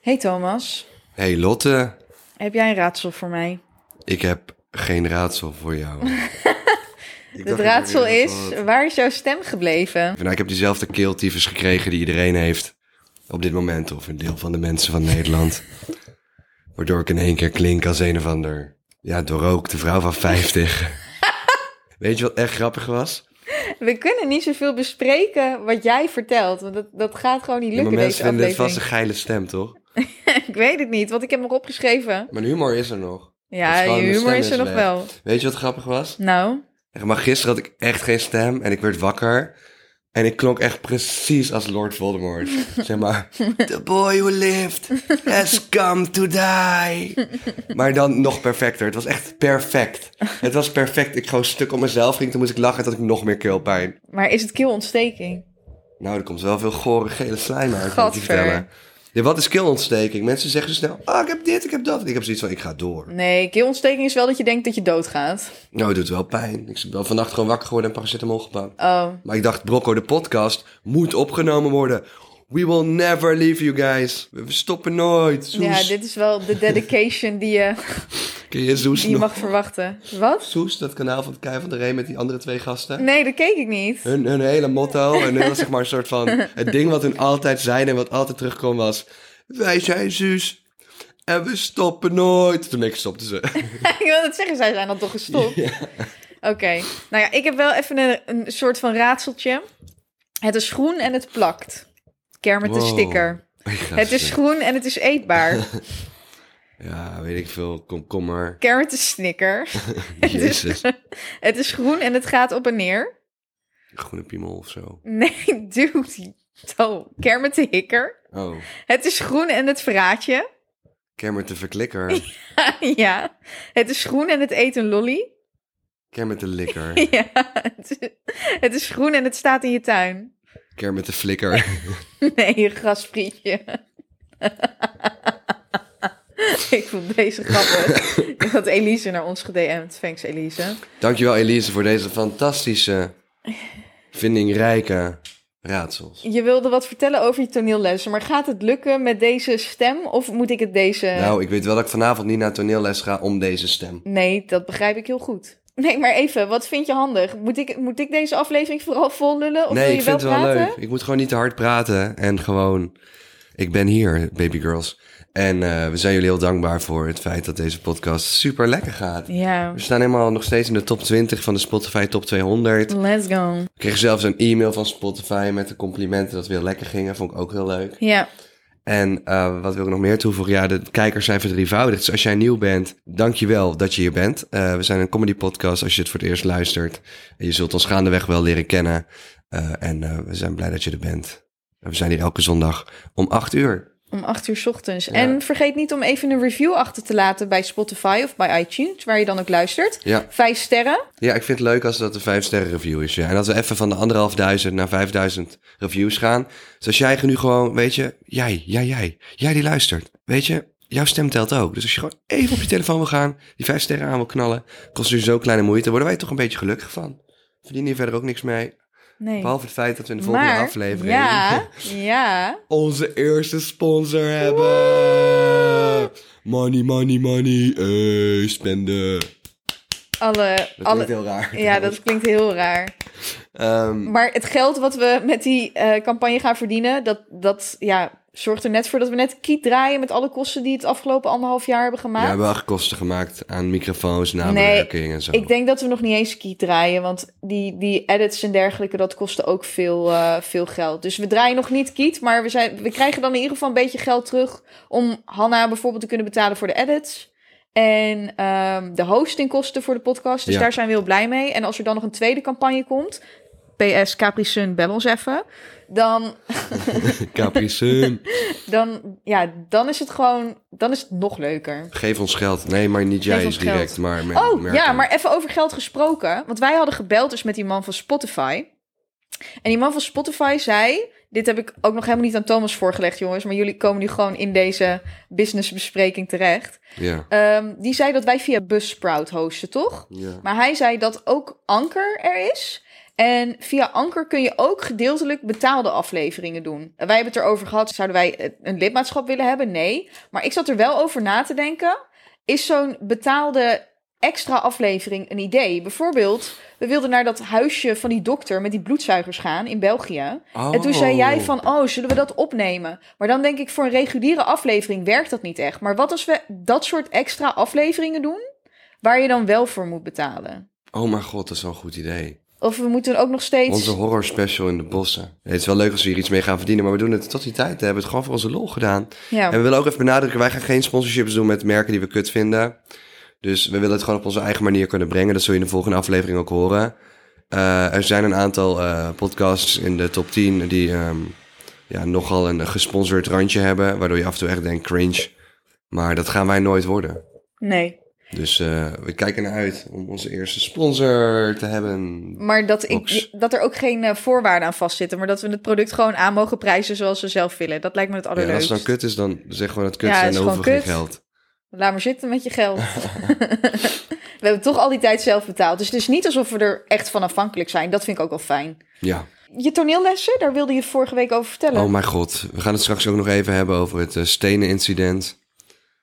Hey Thomas, Hey Lotte, heb jij een raadsel voor mij? ik heb geen raadsel voor jou. Ik dacht, ik Het heb raadsel weer is, wat. waar is jouw stem gebleven? Nou, ik heb diezelfde keeltyfus gekregen die iedereen heeft op dit moment, of een deel van de mensen van Nederland. Waardoor ik in één keer klink als een of ander, ja, doorrookte vrouw van 50. Weet je wat echt grappig was? We kunnen niet zoveel bespreken wat jij vertelt, want dat, dat gaat gewoon niet Ja, maar lukken mensen deze vinden aflevering. het vast een geile stem, toch? ik weet het niet, want ik heb nog opgeschreven. Mijn humor is er nog. Dat Ja, is gewoon, je mijn humor stem is er is nog weg. wel. Weet je wat grappig was? Nou, Echt, Maar gisteren had ik echt geen stem en ik werd wakker. En ik klonk echt precies als Lord Voldemort. Zeg maar, the boy who lived has come to die. Maar dan nog perfecter. Het was echt perfect. Het was perfect. Ik gewoon stuk om mezelf ging. Toen moest ik lachen en toen had ik nog meer keelpijn. maar is het keelontsteking? Nou, er komt wel veel gore gele slijm uit. Kan ik je Gadver. vertellen. Ja, wat is keelontsteking? Mensen zeggen zo snel, ah, ik heb dit, ik heb dat. En ik heb zoiets van, ik ga door. Nee, keelontsteking is wel dat je denkt dat je doodgaat. Nou, het doet wel pijn. Ik ben vannacht gewoon wakker geworden en paracetamol gepakt. Oh, Maar ik dacht, Brocco, de podcast moet opgenomen worden. We will never leave you guys. We stoppen nooit. Soes. ja, dit is wel de dedication die je, Ken je Soes die je nog? mag verwachten. Wat? Soes, dat kanaal van Kai van der Ree met die andere twee gasten. Nee, dat keek ik niet. Hun, hun hele motto en hun was zeg maar een soort van... Het ding wat hun altijd zeiden en wat altijd terugkwam was... Wij zijn Soes en we stoppen nooit. Toen ik dus, eh. stopte ze. ik wil het zeggen, zij zijn dan toch gestopt. Oké, nou ja, ik heb wel even een, een soort van raadseltje. Het is groen en het plakt. Kermit de Wow. sticker. Het is groen en het is eetbaar. Ja, weet ik veel. Komkommer. Kermit de snicker. Het is, Jezus. het is groen en het gaat op en neer. Groene piemel of zo. Nee, dude. Oh, Kermit de hikker. Oh. Het is groen en het verraadt je. Kermit de verklikker. ja. Het is groen en het eet een lolly. Kermit de likker. ja. Het is, het is groen en het staat in je tuin. Kermit de flikker. Nee, grasprietje. Ik vond deze grappig. Ik had Elise naar ons gedM'd. Thanks, Elise. Dankjewel Elise voor deze fantastische, vindingrijke raadsels. Je wilde wat vertellen over je toneellessen, maar gaat het lukken met deze stem of moet ik het deze... Nou, ik weet wel dat ik vanavond niet naar toneelles ga om deze stem. Nee, dat begrijp ik heel goed. Nee, maar even, wat vind je handig? Moet ik, moet ik deze aflevering vooral vol lullen of wil nee, je ik vind wel het wel praten? leuk. Ik moet gewoon niet te hard praten en gewoon... Ik ben hier, baby girls. En eh, we zijn jullie heel dankbaar voor het feit dat deze podcast super lekker gaat. Ja, We staan helemaal nog steeds in de top 20 van de Spotify Top 200. Ik let's go. kreeg zelfs een e-mail van Spotify met de complimenten dat we heel lekker gingen. Vond ik ook heel leuk. Ja, En eh, wat wil ik nog meer toevoegen? Ja, de kijkers zijn verdrievoudigd. Dus als jij nieuw bent, dank je wel dat je hier bent. Eh, we zijn een comedy podcast als je het voor het eerst luistert. En je zult ons gaandeweg wel leren kennen. Eh, en eh, we zijn blij dat je er bent. En we zijn hier elke zondag om 8 uur. om 8 uur 's ochtends. En vergeet niet om even een review achter te laten bij Spotify of bij iTunes, waar je dan ook luistert. Ja. Vijf sterren. ja, ik vind het leuk als dat een 5 sterren review is. Ja. En dat we even van de anderhalfduizend naar 5000 reviews gaan. Dus als jij nu gewoon, weet je, jij, jij, jij, jij die luistert. Weet je, jouw stem telt ook. Dus als je gewoon even op je telefoon wil gaan, die vijf sterren aan wil knallen, kost nu zo kleine moeite, worden wij toch een beetje gelukkig van. Verdienen hier verder ook niks mee. Nee. Behalve het feit dat we in de volgende Maar, aflevering Ja, ja. onze eerste sponsor hebben. Money, money, money, eh, spenden. Alle, Dat alle, klinkt heel raar. ja, dat klinkt heel raar. Ehm, Maar het geld wat we met die eh, campagne gaan verdienen, dat, dat ja, zorgt er net voor dat we net kiet draaien met alle kosten die het afgelopen anderhalf jaar hebben we gemaakt. hebben wel kosten gemaakt aan microfoons, nabewerking en zo. Ik denk dat we nog niet eens kiet draaien, want die, die edits en dergelijke, dat kostte ook veel, eh, veel geld. Dus we draaien nog niet kiet, maar we, zijn, we krijgen dan in ieder geval een beetje geld terug om Hanna bijvoorbeeld te kunnen betalen voor de edits. En ehm, de hostingkosten voor de podcast. Dus Ja. daar zijn we heel blij mee. En als er dan nog een tweede campagne komt, PS Capri Sun, bel ons even. Dan, Capri Sun. dan, ja, dan is het gewoon, dan is het nog leuker. Geef ons geld. Nee, maar niet jij ons is direct, geld. maar men- Oh, merken. ja, maar even over geld gesproken. Want wij hadden gebeld dus met die man van Spotify. En die man van Spotify zei... Dit heb ik ook nog helemaal niet aan Thomas voorgelegd, jongens. Maar jullie komen nu gewoon in deze businessbespreking terecht. Ja. Ehm, die zei dat wij via Buzzsprout hosten, toch? ja. Maar hij zei dat ook Anker er is. En via Anker kun je ook gedeeltelijk betaalde afleveringen doen. Wij hebben het erover gehad, zouden wij een lidmaatschap willen hebben? Nee. Maar ik zat er wel over na te denken. Is zo'n betaalde extra aflevering een idee? Bijvoorbeeld, we wilden naar dat huisje van die dokter met die bloedzuigers gaan in België. En toen zei jij van, oh, zullen we dat opnemen? Maar dan denk ik, voor een reguliere aflevering werkt dat niet echt. Maar wat als we dat soort extra afleveringen doen, waar je dan wel voor moet betalen? Oh mijn god, dat is wel een goed idee. Of we moeten ook nog steeds... Onze horror special in de bossen. Het is wel leuk als we hier iets mee gaan verdienen, maar we doen het tot die tijd. We hebben het gewoon voor onze lol gedaan. Ja. En we willen ook even benadrukken, wij gaan geen sponsorships doen met merken die we kut vinden. Dus we willen het gewoon op onze eigen manier kunnen brengen. Dat zul je in de volgende aflevering ook horen. Eh, er zijn een aantal eh, podcasts in de top 10 die ehm, ja, nogal een gesponsord randje hebben. Waardoor je af en toe echt denkt cringe. Maar dat gaan wij nooit worden. Nee. Dus eh, we kijken naar uit om onze eerste sponsor te hebben. Maar dat, ik, Box. dat er ook geen eh, voorwaarden aan vastzitten. Maar dat we het product gewoon aan mogen prijzen zoals we zelf willen. Dat lijkt me het Ja, als allerleukst. het dan kut is, dan zeg gewoon dat het kut Ja, is en het is dan hoeven we gewoon geen geld. Laat maar zitten met je geld. we hebben toch al die tijd zelf betaald. Dus het is niet alsof we er echt van afhankelijk zijn. Dat vind ik ook wel fijn. Ja. Je toneellessen, daar wilde je vorige week over vertellen. Oh mijn god, we gaan het straks ook nog even hebben over het eh, stenen incident.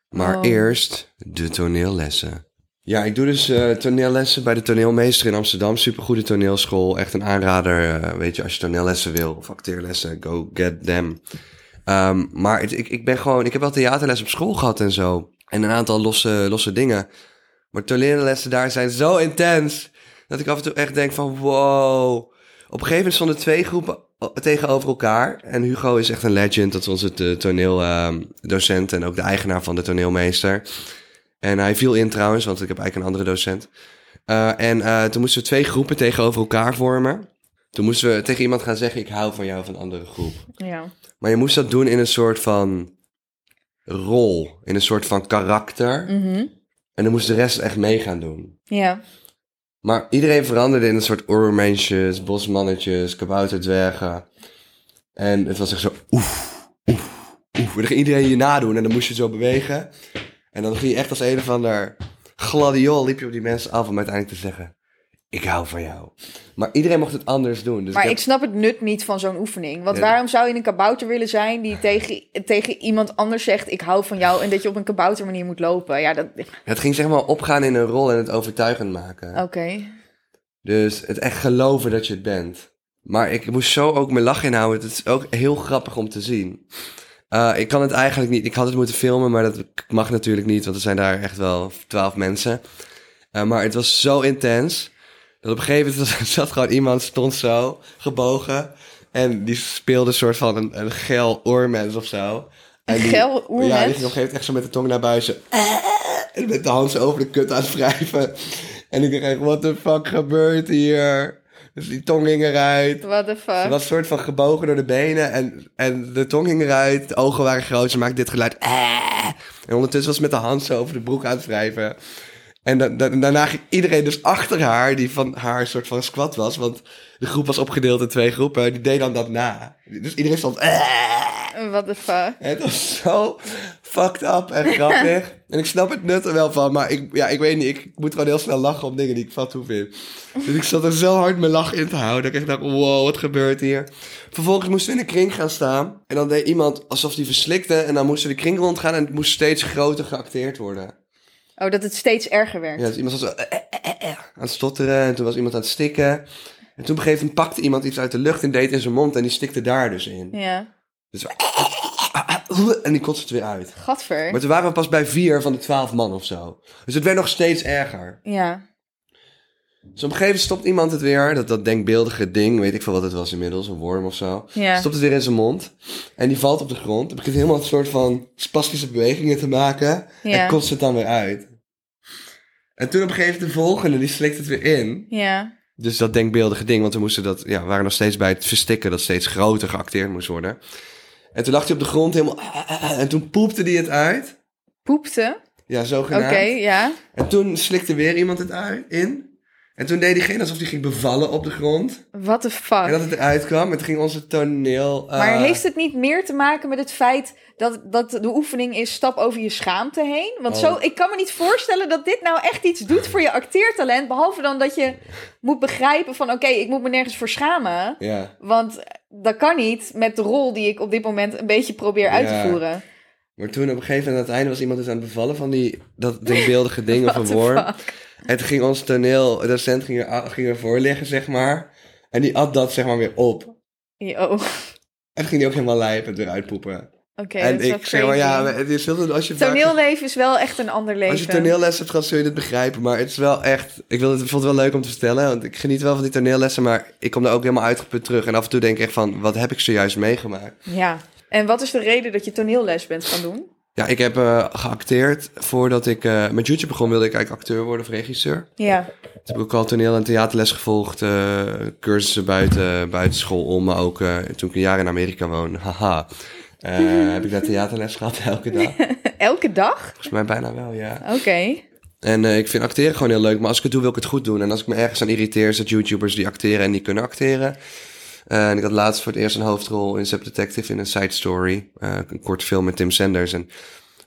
Maar Oh. eerst de toneellessen. Ja, ik doe dus eh, toneellessen bij de toneelmeester in Amsterdam. Supergoede toneelschool, echt een aanrader. eh, weet je, als je toneellessen wil of acteerlessen, go get them. Ehm, maar het- ik, ik ben gewoon, ik heb wel theaterles op school gehad en zo. En een aantal losse, losse dingen. Maar toneellessen daar zijn zo intens. Dat ik af en toe echt denk van wow. Op een gegeven moment stonden twee groepen o- tegenover elkaar. En Hugo is echt een legend. Dat eh, is onze t- toneeldocent ehm, en ook de eigenaar van de toneelmeester. En hij viel in trouwens, want ik heb eigenlijk een andere docent. Eh, en eh, toen moesten we twee groepen tegenover elkaar vormen. Toen moesten we tegen iemand gaan zeggen, ik hou van jou van een andere groep. Ja. Maar je moest dat doen in een soort van rol. In een soort van karakter. Mhm. En dan moest de rest echt mee gaan doen. ja. Maar iedereen veranderde in een soort oermensjes, bosmannetjes, kabouterdwergen. En het was echt zo oef, oef, oef. En dan ging iedereen je nadoen en dan moest je zo bewegen. En dan ging je echt als een of ander gladiool liep je op die mensen af om uiteindelijk te zeggen... Ik hou van jou. Maar iedereen mocht het anders doen. Dus Maar ik ik, heb- snap het nut niet van zo'n oefening. Want Ja. waarom zou je een kabouter willen zijn die tegen, tegen iemand anders zegt: Ik hou van jou. En dat je op een kabouter manier moet lopen? Ja, dat. Oké. Het ging zeg maar opgaan in een rol en het overtuigend maken. Dus het echt geloven dat je het bent. Maar ik moest zo ook mijn lach inhouden. Het is ook heel grappig om te zien. Eh, ik kan het eigenlijk niet. Ik had het moeten filmen, maar dat mag natuurlijk niet. Want er zijn daar echt wel twaalf mensen. Eh, maar het was zo intens. Dat op een gegeven moment was- zat gewoon iemand, stond zo, gebogen. En die speelde een soort van een, een gel oormens of zo. En Een die- gel oermens? Ja, die ging op een gegeven moment echt zo met de tong naar buizen. En met de hand zo over de kut aan het wrijven. En ik dacht echt, what the fuck gebeurt hier? Dus die tong ging eruit. What the fuck. Ze was soort van gebogen door de benen en, en de tong ging eruit. De ogen waren groot, ze maakte dit geluid. "Ah." En ondertussen was ze met de hand zo over de broek aan het wrijven. En da- da- daarna ging iedereen dus achter haar, die van haar soort van squat was. Want de groep was opgedeeld in twee groepen, die deed dan dat na. Dus iedereen stond... "Ah." What the fuck. Het was zo fucked up en grappig. en ik snap het nut er wel van, maar ik, ja, ik weet niet. Ik moet gewoon heel snel lachen om dingen die ik fat toe vind. Dus ik zat er zo hard mijn lach in te houden. Dat ik echt dacht, wow, wat gebeurt hier? Vervolgens moesten we in een kring gaan staan. En dan deed iemand alsof die verslikte. En dan moesten we de kring rondgaan en het moest steeds groter geacteerd worden. Oh, dat het steeds erger werd. Ja, dus iemand was zo eh, eh, eh, eh, aan het stotteren. En toen was iemand aan het stikken. En toen op een gegeven moment pakte iemand iets uit de lucht en deed het in zijn mond. En die stikte daar dus in. Ja. Dus, en die kotste het weer uit. Gadver. Maar toen waren we pas bij vier van de twaalf man of zo. Dus het werd nog steeds erger. Ja. Dus op een gegeven moment stopt iemand het weer. Dat, dat denkbeeldige ding, weet ik veel wat het was inmiddels, een worm of zo. Ja. Stopt het weer in zijn mond. En die valt op de grond. En begint helemaal een soort van spastische bewegingen te maken. Ja. En kotst het dan weer uit. En toen op een gegeven moment de volgende, die slikt het weer in. Ja. Dus dat denkbeeldige ding, want we moesten dat, ja, we waren nog steeds bij het verstikken dat steeds groter geacteerd moest worden. En toen lag hij op de grond helemaal. En toen poepte hij het uit. Poepte. Ja, Oké, zogenaamd. ja. En toen slikte weer iemand het uit, in. En toen deed diegene alsof die ging bevallen op de grond. What the En fuck? dat het eruit kwam. En toen ging onze toneel... eh, Maar heeft het niet meer te maken met het feit dat, dat de oefening is stap over je schaamte heen? Want Oh. zo, ik kan me niet voorstellen dat dit nou echt iets doet voor je acteertalent. Behalve dan dat je moet begrijpen van oké, ik moet me nergens voor schamen. Ja. Want dat kan niet met de rol die ik op dit moment een beetje probeer uit Ja. te voeren. Maar toen op een gegeven moment aan het einde was iemand dus aan het bevallen van die, dat denkbeeldige ding of What een the worm. fuck? En toen ging ons toneeldocent ging, er, ging ervoor liggen, zeg maar. En die at dat zeg maar weer op. En Ja, Oh, oké. toen ging die ook helemaal lijpen weer uitpoepen. en dat is wel ik zeg maar, crazy. ja, maar het is heel- als je Toneelleven is wel echt een ander leven. Als je toneelles hebt gehad, zul je dit begrijpen. Maar het is wel echt... Ik wil, het- ik vond het wel leuk om te vertellen. Want ik geniet wel van die toneellessen, maar ik kom daar ook helemaal uitgeput terug. En af en toe denk ik echt van, wat heb ik zojuist meegemaakt? Ja. En wat is de reden dat je toneelles bent gaan doen? Ja, ik heb eh, geacteerd. Voordat ik eh, met YouTube begon, wilde ik eigenlijk acteur worden of regisseur. Ja. Toen heb ik ook al toneel- en theaterles gevolgd. eh, cursussen buiten, buiten school om. Maar ook eh, toen ik een jaar in Amerika woonde. Haha. eh, heb ik daar theaterles gehad elke dag? Elke dag? Volgens mij bijna wel, ja. Oké. En eh, ik vind acteren gewoon heel leuk, maar als ik het doe, wil ik het goed doen. En als ik me ergens aan irriteer, is dat YouTubers die acteren en niet kunnen acteren. Eh, en ik had laatst voor het eerst een hoofdrol in Zep Detective in een side story. Eh, een kort film met Tim Sanders. En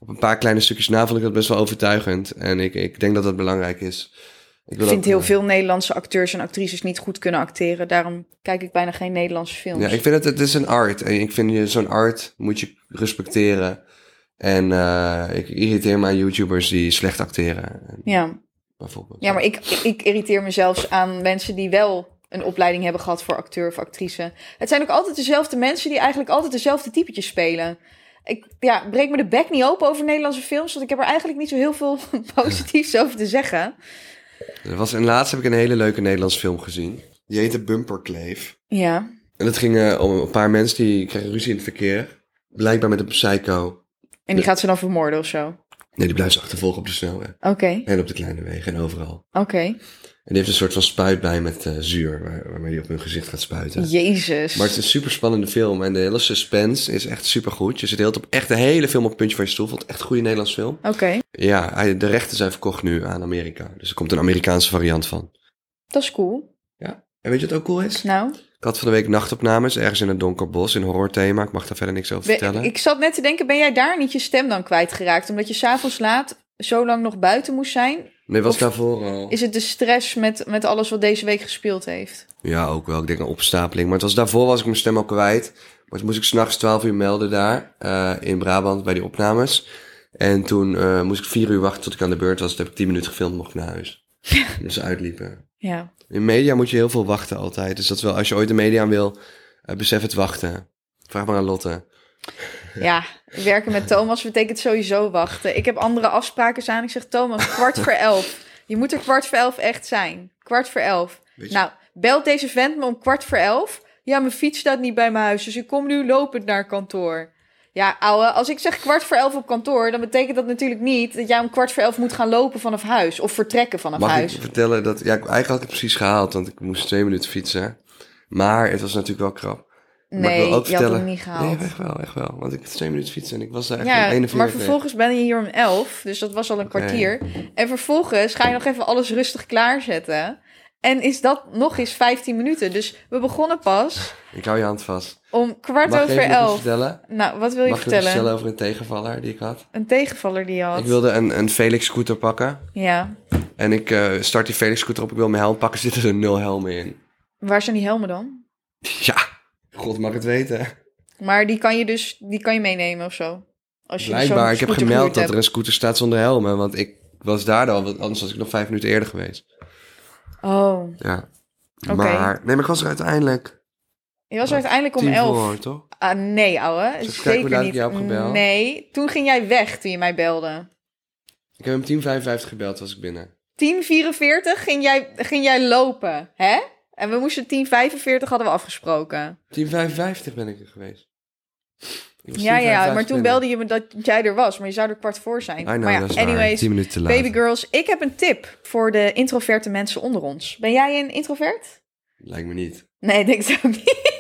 op een paar kleine stukjes na vond ik dat best wel overtuigend. En ik, ik denk dat dat belangrijk is. Ik Ik wil vind ook- heel veel Nederlandse acteurs en actrices niet goed kunnen acteren. Daarom kijk ik bijna geen Nederlandse films. Ja, ik vind het, het is een art. En ik vind je- zo'n art moet je respecteren. En eh, ik irriteer me aan YouTubers die slecht acteren. En ja. Bijvoorbeeld. Ja, maar ik, ik irriteer mezelf aan mensen die wel een opleiding hebben gehad voor acteur of actrice. Het zijn ook altijd dezelfde mensen die eigenlijk altijd dezelfde typetjes spelen. Ik ja, breek me de bek niet open over Nederlandse films, want ik heb er eigenlijk niet zo heel veel positiefs over te zeggen. Er was, en laatst heb ik een hele leuke Nederlandse film gezien. Die heette Bumperkleef. Ja, En dat ging eh, om een paar mensen die kregen ruzie in het verkeer. Blijkbaar met een psycho. en die gaat ze dan vermoorden of zo. Oké, Nee, die blijft ze achtervolgen op de snelweg. En op de kleine wegen en overal. oké. En die heeft een soort van spuit bij met eh, zuur, waar- waarmee hij op hun gezicht gaat spuiten. Jezus. Maar het is een super spannende film en de hele suspense is echt super goed. Je zit heel op echt de hele film op het puntje van je stoel. Vond het echt een goede Nederlandse film. Oké, Ja, hij- de rechten zijn verkocht nu aan Amerika. Dus er komt een Amerikaanse variant van. dat is cool. En weet je wat ook cool is? Nou, Ik had van de week nachtopnames ergens in een donker bos, in horrorthema. Ik mag daar verder niks over we- vertellen. ik zat net te denken, ben jij daar niet je stem dan kwijtgeraakt? Omdat je s'avonds laat zo lang nog buiten moest zijn? nee, was of- daarvoor al. Is het de stress met, met alles wat deze week gespeeld heeft? Ja, ook wel. Ik denk een opstapeling. Maar het was, daarvoor was ik mijn stem al kwijt. Maar toen moest ik s'nachts 12 uur melden daar, eh, in Brabant, bij die opnames. En toen eh, moest ik 4 uur wachten tot ik aan de beurt was. Toen heb ik 10 minuten gefilmd, mocht ik naar huis. dus uitliepen. Ja. In media moet je heel veel wachten altijd. Dus dat is wel, als je ooit de media aan wil, eh, besef het wachten. Vraag maar aan Lotte. Ja, werken met Thomas betekent sowieso wachten. Ik heb andere afspraken aan. Ik zeg, Thomas, kwart voor elf. Je moet er kwart voor elf echt zijn. Kwart voor elf. Weet je- Nou, belt deze vent me om kwart voor elf? Ja, mijn fiets staat niet bij mijn huis, dus ik kom nu lopend naar kantoor. Ja, ouwe, als ik zeg kwart voor elf op kantoor, dan betekent dat natuurlijk niet dat jij om kwart voor elf moet gaan lopen vanaf huis. Of vertrekken vanaf Mag huis. ik vertellen dat... Ja, ik- eigenlijk had ik het precies gehaald, want ik moest twee minuten fietsen. Maar het was natuurlijk wel krap. Maar ik Nee, wil ook je had vertellen- hem niet gehaald. Nee, echt wel, echt wel. Want ik had twee minuten fietsen en ik was daar echt om Ja, 41. maar vervolgens ben je hier om 11, dus dat was al een kwartier. En vervolgens ga je nog even alles rustig klaarzetten. En is dat nog eens 15 minuten. Dus we begonnen pas Ik hou je hand vast. om kwart Mag ik over even nog iets 11. vertellen? Nou, wat wil je Mag ik nog iets vertellen? vertellen over een tegenvaller die ik had? Een tegenvaller die je had. Ik wilde een, een Felix scooter pakken. Ja. En ik eh, start die Felix scooter op, ik wil mijn helm pakken, zitten er nul helmen in. Waar zijn die helmen dan? Ja, god mag het weten. Maar die kan je dus die kan je meenemen of zo. Als je zo'n Blijkbaar, ik heb scooter gemeld gehuurd dat er hebt. een scooter staat zonder helmen, want ik was daar al, want anders was ik nog vijf minuten eerder geweest. Oh, Ja. Oké. Maar, nee, maar ik was er uiteindelijk je was er uiteindelijk om tien 11. voor, toch? Ah, nee, ouwe. kijken hoe Zeker laat ik niet. jou heb gebeld? Nee, toen ging jij weg toen je mij belde. Ik heb hem 10.55 gebeld, was ik binnen. 10.44 ging jij, ging jij lopen, hè? En we moesten 10.45 hadden we afgesproken. 10.55 ben ik er geweest. Ik was Ja, ja, 10:55 maar toen binnen. belde je me dat jij er was, maar je zou er kwart voor zijn. I know, maar ja, dat is waar. anyways, 10 minuten te laat. baby girls, ik heb een tip voor de introverte mensen onder ons. Ben jij een introvert? Lijkt me niet. Nee, ik denk ik ook niet.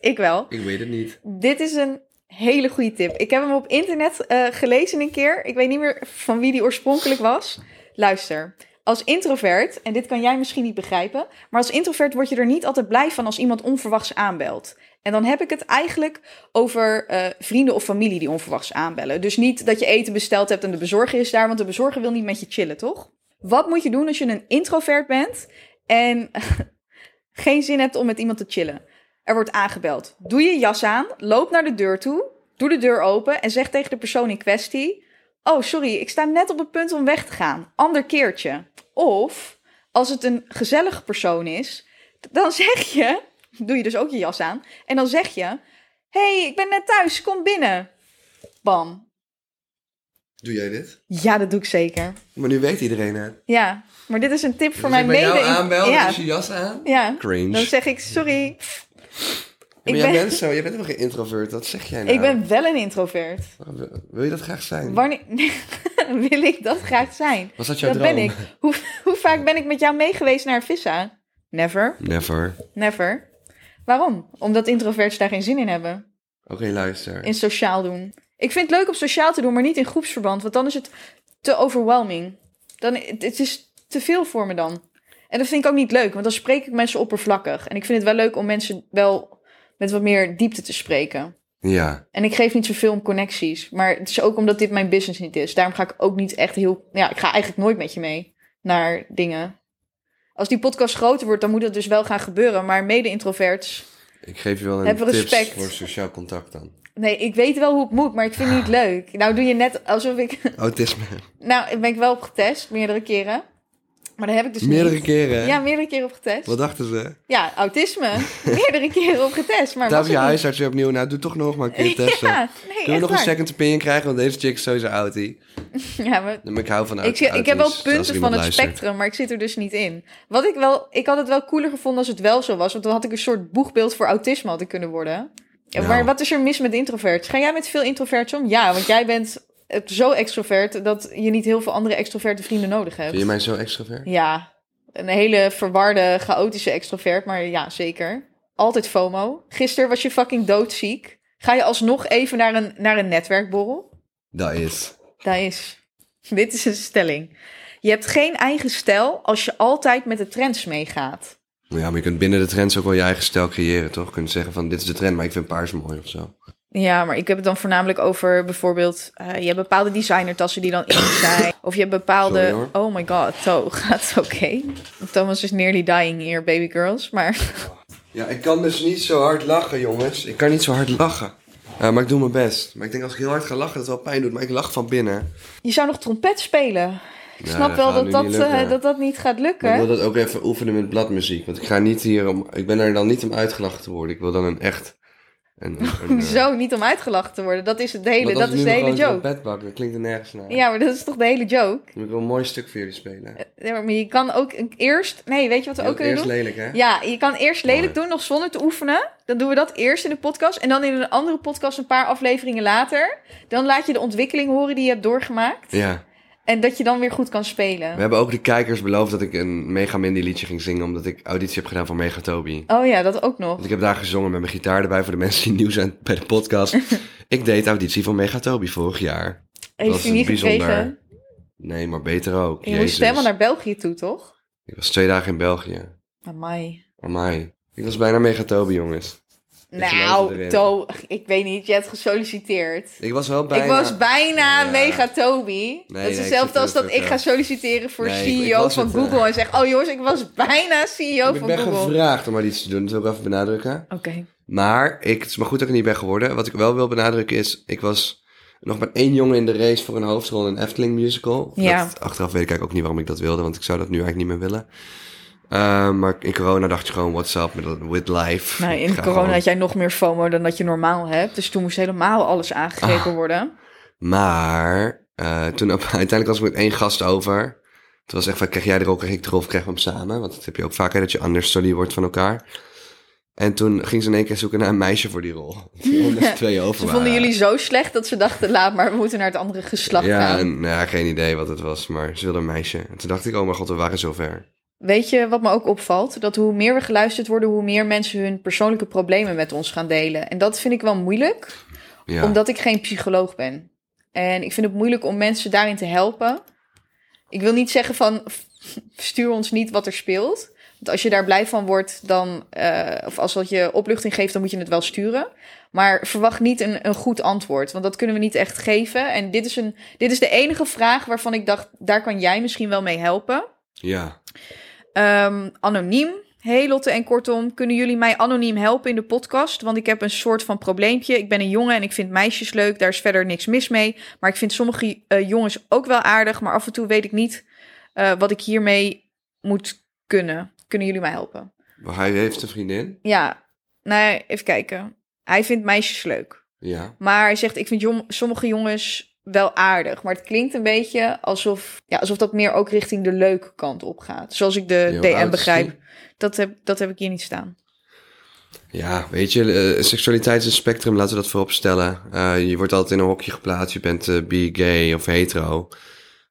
Ik wel. Ik weet het niet. Dit is een hele goede tip. Ik heb hem op internet eh, gelezen een keer. Ik weet niet meer van wie die oorspronkelijk was. Luister. als introvert, en dit kan jij misschien niet begrijpen, maar als introvert word je er niet altijd blij van als iemand onverwachts aanbelt. En dan heb ik het eigenlijk over eh, vrienden of familie die onverwachts aanbellen. Dus niet dat je eten besteld hebt en de bezorger is daar, want de bezorger wil niet met je chillen, toch? Wat moet je doen als je een introvert bent en geen zin hebt om met iemand te chillen? Er wordt aangebeld. Doe je jas aan, loop naar de deur toe, doe de deur open en zeg tegen de persoon in kwestie: Oh, sorry, ik sta net op het punt om weg te gaan. Ander keertje. Of als het een gezellige persoon is, dan zeg je: Doe je dus ook je jas aan. En dan zeg je: hey, ik ben net thuis, kom binnen. Bam. Doe jij dit? Ja, dat doe ik zeker. Maar nu weet iedereen het. Ja, maar dit is een tip voor mijn bij mede. Dus jou aanbel, ja, dus je jas aan. ja. Cringe. Dan zeg ik: Sorry, maar ik jij ben- bent zo, jij bent helemaal geen introvert. Dat zeg jij nou. ik ben wel een introvert. Wil je dat graag zijn? Wanneer wil ik dat graag zijn? Was dat jouw Dat droom? ben ik. Hoe, hoe vaak ben ik met jou meegeweest naar Vissa? Never, Never. never. Waarom? Omdat introverts daar geen zin in hebben. Oké, luister. In sociaal doen. Ik vind het leuk om sociaal te doen, maar niet in groepsverband. Want dan is het te overwhelming. Dan, het, het is te veel voor me dan. En dat vind ik ook niet leuk, want dan spreek ik mensen oppervlakkig. En ik vind het wel leuk om mensen wel met wat meer diepte te spreken. Ja. En ik geef niet zoveel om connecties. Maar het is ook omdat dit mijn business niet is. Daarom ga ik ook niet echt heel. Ja, ik ga eigenlijk nooit met je mee naar dingen. Als die podcast groter wordt, dan moet dat dus wel gaan gebeuren. Maar mede-introverts. Ik geef je wel een Hebben we tips respect. voor sociaal contact dan. Nee, ik weet wel hoe het moet, maar ik vind het niet leuk. Nou, doe je net alsof ik. Autisme. Nou, ik ben ik wel op getest, meerdere keren. Maar daar heb ik dus. Meerdere niet. keren. Ja, meerdere keren op getest. Wat dachten ze? Ja, autisme. meerdere keren op getest. Maar Daar was heb je het niet. huisarts weer opnieuw. Nou, doe toch nog maar een keer testen. Ja, nee, Kunnen echt we nog waar. een second opinion krijgen? Want deze chick is sowieso outie. Ja, maar Maar ik hou van Ik, oud- zie- ik heb wel outies, als er punten van iemand het luistert. spectrum, maar ik zit er dus niet in. Wat ik wel, ik had het wel cooler gevonden als het wel zo was, want dan had ik een soort boegbeeld voor autisme had ik kunnen worden. Ja, Nou. Maar wat is er mis met introverts? Ga jij met veel introverts om? Ja, want jij bent eh, zo extrovert dat je niet heel veel andere extroverte vrienden nodig hebt. Vind je mij zo extrovert? Ja, een hele verwarde, chaotische extrovert, maar ja, zeker. Altijd FOMO. Gisteren was je fucking doodziek. Ga je alsnog even naar een, naar een netwerkborrel? Dat is. Daar is. Dit is een stelling. Je hebt geen eigen stijl als je altijd met de trends meegaat. Ja, maar je kunt binnen de trends ook wel je eigen stijl creëren, toch? Je kunt zeggen van, dit is de trend, maar ik vind paars mooi of zo. Ja, maar ik heb het dan voornamelijk over bijvoorbeeld... eh, je hebt bepaalde designertassen die dan in zijn. Of je hebt bepaalde... Sorry, hoor. oh my god, To gaat oké. Thomas is nearly dying here, baby girls. Maar Ja, ik kan dus niet zo hard lachen, jongens. Ik kan niet zo hard lachen. Eh, maar ik doe mijn best. Maar ik denk als ik heel hard ga lachen, dat het wel pijn doet. Maar ik lach van binnen. je zou nog trompet spelen. Ik Ja, snap dat wel gaat dat nu dat, niet eh, lukken. dat dat niet gaat Maar ik lukken. wil dat ook even oefenen met bladmuziek. Want ik ga niet hier om... Ik ben er dan niet om uitgelachen te worden. Ik wil dan een echt... Een, een, een, eh, Zo, niet om uitgelachen te worden. Dat is het hele, want als dat ik is nu de nog hele gewoon joke. zo'n bed bak, dat klinkt er nergens naar. Ja, maar dat is toch de hele joke? Dan moet ik wel een mooi stuk voor jullie spelen. Ja, maar je kan ook een- eerst... Nee, weet je wat we ook kunnen Eerst doen? lelijk, hè? Ja, je kan eerst lelijk Mooi. doen, nog zonder te oefenen. Dan doen we dat eerst in de podcast. En dan in een andere podcast een paar afleveringen later. Dan laat je de ontwikkeling horen die je hebt doorgemaakt. ja. En dat je dan weer goed kan spelen. We hebben ook de kijkers beloofd dat ik een Mega Mindy liedje ging zingen, omdat ik auditie heb gedaan voor Mega Toby. Oh ja, dat ook nog. Want ik heb daar gezongen met mijn gitaar erbij voor de mensen die nieuw zijn bij de podcast. ik deed auditie voor Mega Toby vorig jaar. Heeft is u niet bijzonder. gekregen? Nee, maar beter ook. Je moest helemaal naar België toe, toch? Ik was twee dagen in België. Amai. Amai. Ik was bijna Mega Toby, jongens. geloof Nou, erin. To, ik weet niet, je hebt gesolliciteerd. Ik was wel bijna... Ik was bijna Ja. mega Toby. dat nee, is ik hetzelfde zit als dat er ik wel. ga solliciteren voor Nee, ik- ik CEO was van het, eh. Google. En zeg, oh jongens, ik was bijna CEO Ik van ben Google. Oké. gevraagd om auditie te doen, dat wil ik even benadrukken. Maar ik, het is maar goed dat ik er niet ben geworden. Wat ik wel wil benadrukken is, ik was nog maar één jongen in de race voor een hoofdrol in een Efteling musical. Ja. Dat, achteraf weet ik eigenlijk ook niet waarom ik dat wilde, want ik zou dat nu eigenlijk niet meer willen. Eh, maar in corona dacht je gewoon, what's up met, with life. Nou, Ik in ga corona gewoon- had jij nog meer FOMO dan dat je normaal hebt. Dus toen moest helemaal alles aangegrepen Ah, worden. Maar eh, toen op- uiteindelijk was ik met één gast over. Toen was echt van, krijg jij er ook, krijg ik er of krijgen we hem samen? Want dat heb je ook vaak, hè, dat je understudy wordt van elkaar. En toen ging ze in één keer zoeken naar een meisje voor die rol. Omdat er twee over Ze vonden waren. jullie zo slecht dat ze dachten, laat maar, we moeten naar het andere geslacht Ja, gaan. en, nou ja, geen idee wat het was, maar ze wilde een meisje. En toen dacht ik, oh mijn god, we waren zover. Weet je wat me ook opvalt? Dat hoe meer we geluisterd worden, hoe meer mensen hun persoonlijke problemen met ons gaan delen. En dat vind ik wel moeilijk, Ja. omdat ik geen psycholoog ben. En ik vind het moeilijk om mensen daarin te helpen. Ik wil niet zeggen van, f- stuur ons niet wat er speelt. Want als je daar blij van wordt, dan, eh, of als dat je opluchting geeft, dan moet je het wel sturen. Maar verwacht niet een, een goed antwoord, want dat kunnen we niet echt geven. En dit is, een, dit is de enige vraag waarvan ik dacht, daar kan jij misschien wel mee helpen. Ja. Ehm, anoniem. Hey Lotte en kortom, kunnen jullie mij anoniem helpen in de podcast? Want ik heb een soort van probleempje. Ik ben een jongen en ik vind meisjes leuk. Daar is verder niks mis mee. Maar ik vind sommige eh, jongens ook wel aardig. Maar af en toe weet ik niet eh, wat ik hiermee moet kunnen. Kunnen jullie mij helpen? Maar Hij heeft een vriendin. Ja, nee, even kijken. Hij vindt meisjes leuk. Ja. Maar hij zegt, ik vind jong- sommige jongens wel aardig. Maar het klinkt een beetje alsof, ja, alsof dat meer ook richting de leuke kant op gaat. Zoals ik de Ja, hoe oud DM is begrijp. die? Dat heb, dat heb ik hier niet staan. Ja, weet je, eh, seksualiteit is een spectrum, laten we dat voorop stellen. Eh, je wordt altijd in een hokje geplaatst, je bent eh, bi, gay of hetero.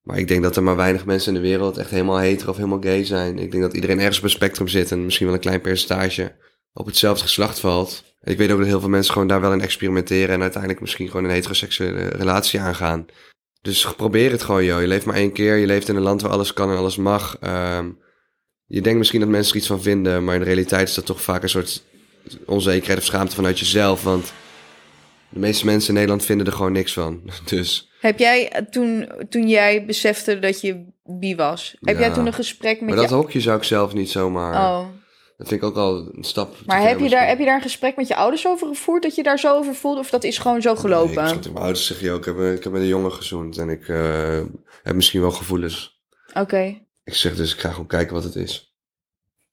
Maar ik denk dat er maar weinig mensen in de wereld echt helemaal hetero of helemaal gay zijn. Ik denk dat iedereen ergens op een spectrum zit en misschien wel een klein percentage op hetzelfde geslacht valt. Ik weet ook dat heel veel mensen gewoon daar wel in experimenteren en uiteindelijk misschien gewoon een heteroseksuele relatie aangaan. Dus probeer het gewoon, joh. Je leeft maar één keer, je leeft in een land waar alles kan en alles mag. Ehm, je denkt misschien dat mensen er iets van vinden, maar in de realiteit is dat toch vaak een soort onzekerheid of schaamte vanuit jezelf. Want de meeste mensen in Nederland vinden er gewoon niks van. Dus Heb jij eh, toen, toen jij besefte dat je bi was, heb jij Ja. toen een gesprek met maar dat je... hokje zou ik zelf niet zomaar. Oh. Dat vind ik ook al een stap. te Maar ver heb je, daar, misschien. heb je daar een gesprek met je ouders over gevoerd? Dat je daar zo over voelde? Of dat is gewoon zo Nee, ik gelopen? zat tegen mijn ouders zeg je ook. Ik heb, ik heb met een jongen gezoend en ik eh, heb misschien wel gevoelens. Oké. Ik zeg dus ik ga gewoon kijken wat het is.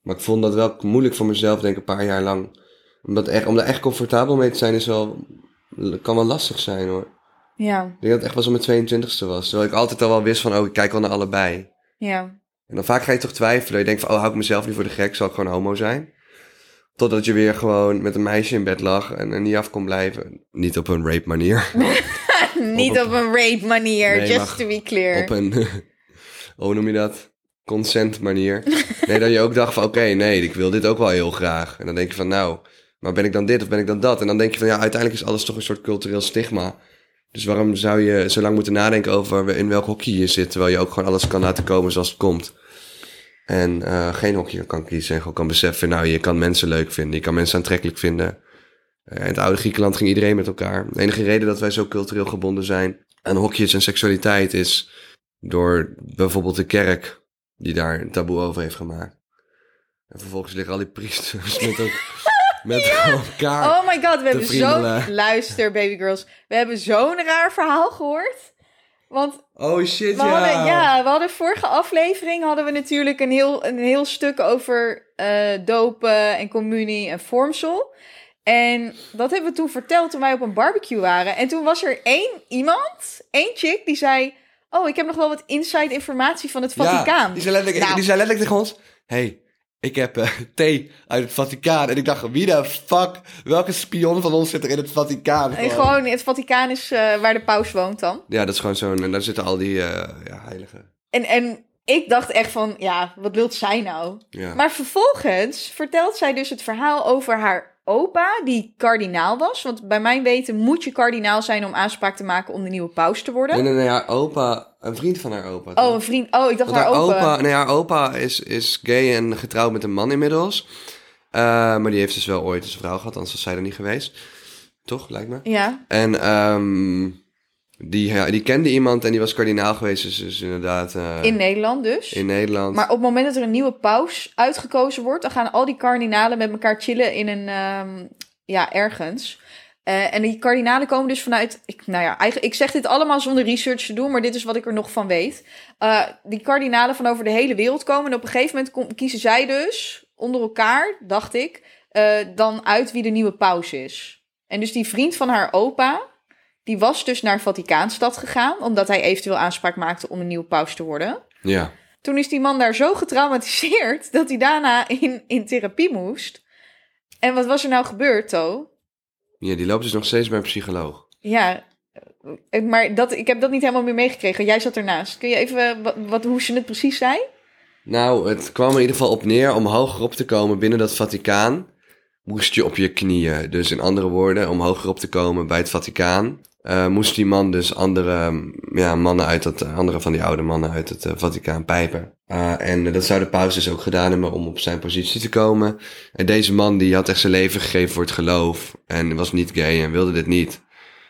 Maar ik vond dat wel moeilijk voor mezelf, denk ik, een paar jaar lang. Omdat echt, om daar echt comfortabel mee te zijn is wel, kan wel lastig zijn hoor. Ja, Ik denk dat het echt wel zo mijn 22e was. Terwijl ik altijd al wel wist van, oh, ik kijk wel naar allebei. ja. En dan vaak ga je toch twijfelen. Je denkt van, oh, hou ik mezelf nu voor de gek? Zal ik gewoon homo zijn? Totdat je weer gewoon met een meisje in bed lag en er niet af kon blijven. Niet op een rape manier. Niet op een rape manier, Nee, just maar- to be clear. Op een, hoe noem je dat? Consent manier. Nee, dat je ook dacht van, oké, nee, ik wil dit ook wel heel graag. En dan denk je van, nou, maar ben ik dan dit of ben ik dan dat? En dan denk je van, ja, uiteindelijk is alles toch een soort cultureel stigma. Dus waarom zou je zo lang moeten nadenken over in welk hokje je zit... terwijl je ook gewoon alles kan laten komen zoals het komt? En eh, geen hokje kan kiezen en gewoon kan beseffen... nou, je kan mensen leuk vinden, je kan mensen aantrekkelijk vinden. Eh, in het oude Griekenland ging iedereen met elkaar. De enige reden dat wij zo cultureel gebonden zijn aan hokjes en seksualiteit... is door bijvoorbeeld de kerk die daar een taboe over heeft gemaakt. En vervolgens liggen al die priesters met, elk- met elkaar. Oh my god, we hebben vriendelen. zo'n... Luister, baby girls. We hebben zo'n raar verhaal gehoord. Want Oh shit, we hadden, ja, we hadden vorige aflevering hadden we natuurlijk een heel, een heel stuk over eh, dopen en communie en vormsel. En dat hebben we toen verteld toen wij op een barbecue waren. En toen was er één iemand, één chick, die zei... Oh, ik heb nog wel wat inside informatie van het Vaticaan. die, zei letterlijk, Nou. die zei letterlijk tegen ons: hey, ik heb eh, thee uit het Vaticaan. En ik dacht: wie de fuck, welke spion van ons zit er in het Vaticaan? En gewoon, het Vaticaan is eh, waar de paus woont dan. Ja, dat is gewoon zo'n. En daar zitten al die eh, ja, heiligen. En, en ik dacht echt van, ja, wat wilt zij nou? Ja. Maar vervolgens vertelt zij dus het verhaal over haar opa, die kardinaal was. Want bij mijn weten moet je kardinaal zijn om aanspraak te maken om de nieuwe paus te worden. Nee, nee, nee, haar opa, een vriend van haar opa. Oh, een vriend. Oh, ik dacht Want haar haar opa. opa, nee, haar opa is, is gay en getrouwd met een man inmiddels. Eh, maar die heeft dus wel ooit eens een vrouw gehad, anders was zij er niet geweest. Toch, lijkt me. Ja, En ehm, die, ja, die kende iemand en die was kardinaal geweest, dus, dus inderdaad eh, in Nederland dus. in Nederland. Maar op het moment dat er een nieuwe paus uitgekozen wordt, dan gaan al die kardinalen met elkaar chillen in een, ehm, ja, ergens. Eh, en die kardinalen komen dus vanuit, ik, nou ja, eigenlijk, ik zeg dit allemaal zonder research te doen, maar dit is wat ik er nog van weet. Eh, die kardinalen van over de hele wereld komen en op een gegeven moment kom- kiezen zij dus onder elkaar, dacht ik, eh, dan uit wie de nieuwe paus is. En dus die vriend van haar opa, die was dus naar Vaticaanstad gegaan, omdat hij eventueel aanspraak maakte om een nieuwe paus te worden. Ja. Toen is die man daar zo getraumatiseerd dat hij daarna in, in therapie moest. En wat was er nou gebeurd, To? ja, die loopt dus nog steeds bij een psycholoog. Ja, eh, maar dat, ik heb dat niet helemaal meer meegekregen. Jij zat ernaast. Kun je even eh, wat, wat, hoe ze het precies zei? Nou, het kwam er in ieder geval op neer om hoger op te komen binnen dat Vaticaan. Moest je op je knieën. Dus in andere woorden, om hoger op te komen bij het Vaticaan. eh, moest die man dus andere mm, ja, mannen uit dat, andere van die oude mannen uit het eh, Vaticaan pijpen. Uh, en uh, dat zou de paus dus ook gedaan hebben om op zijn positie te komen. En deze man die had echt zijn leven gegeven voor het geloof. En was niet gay en wilde dit niet.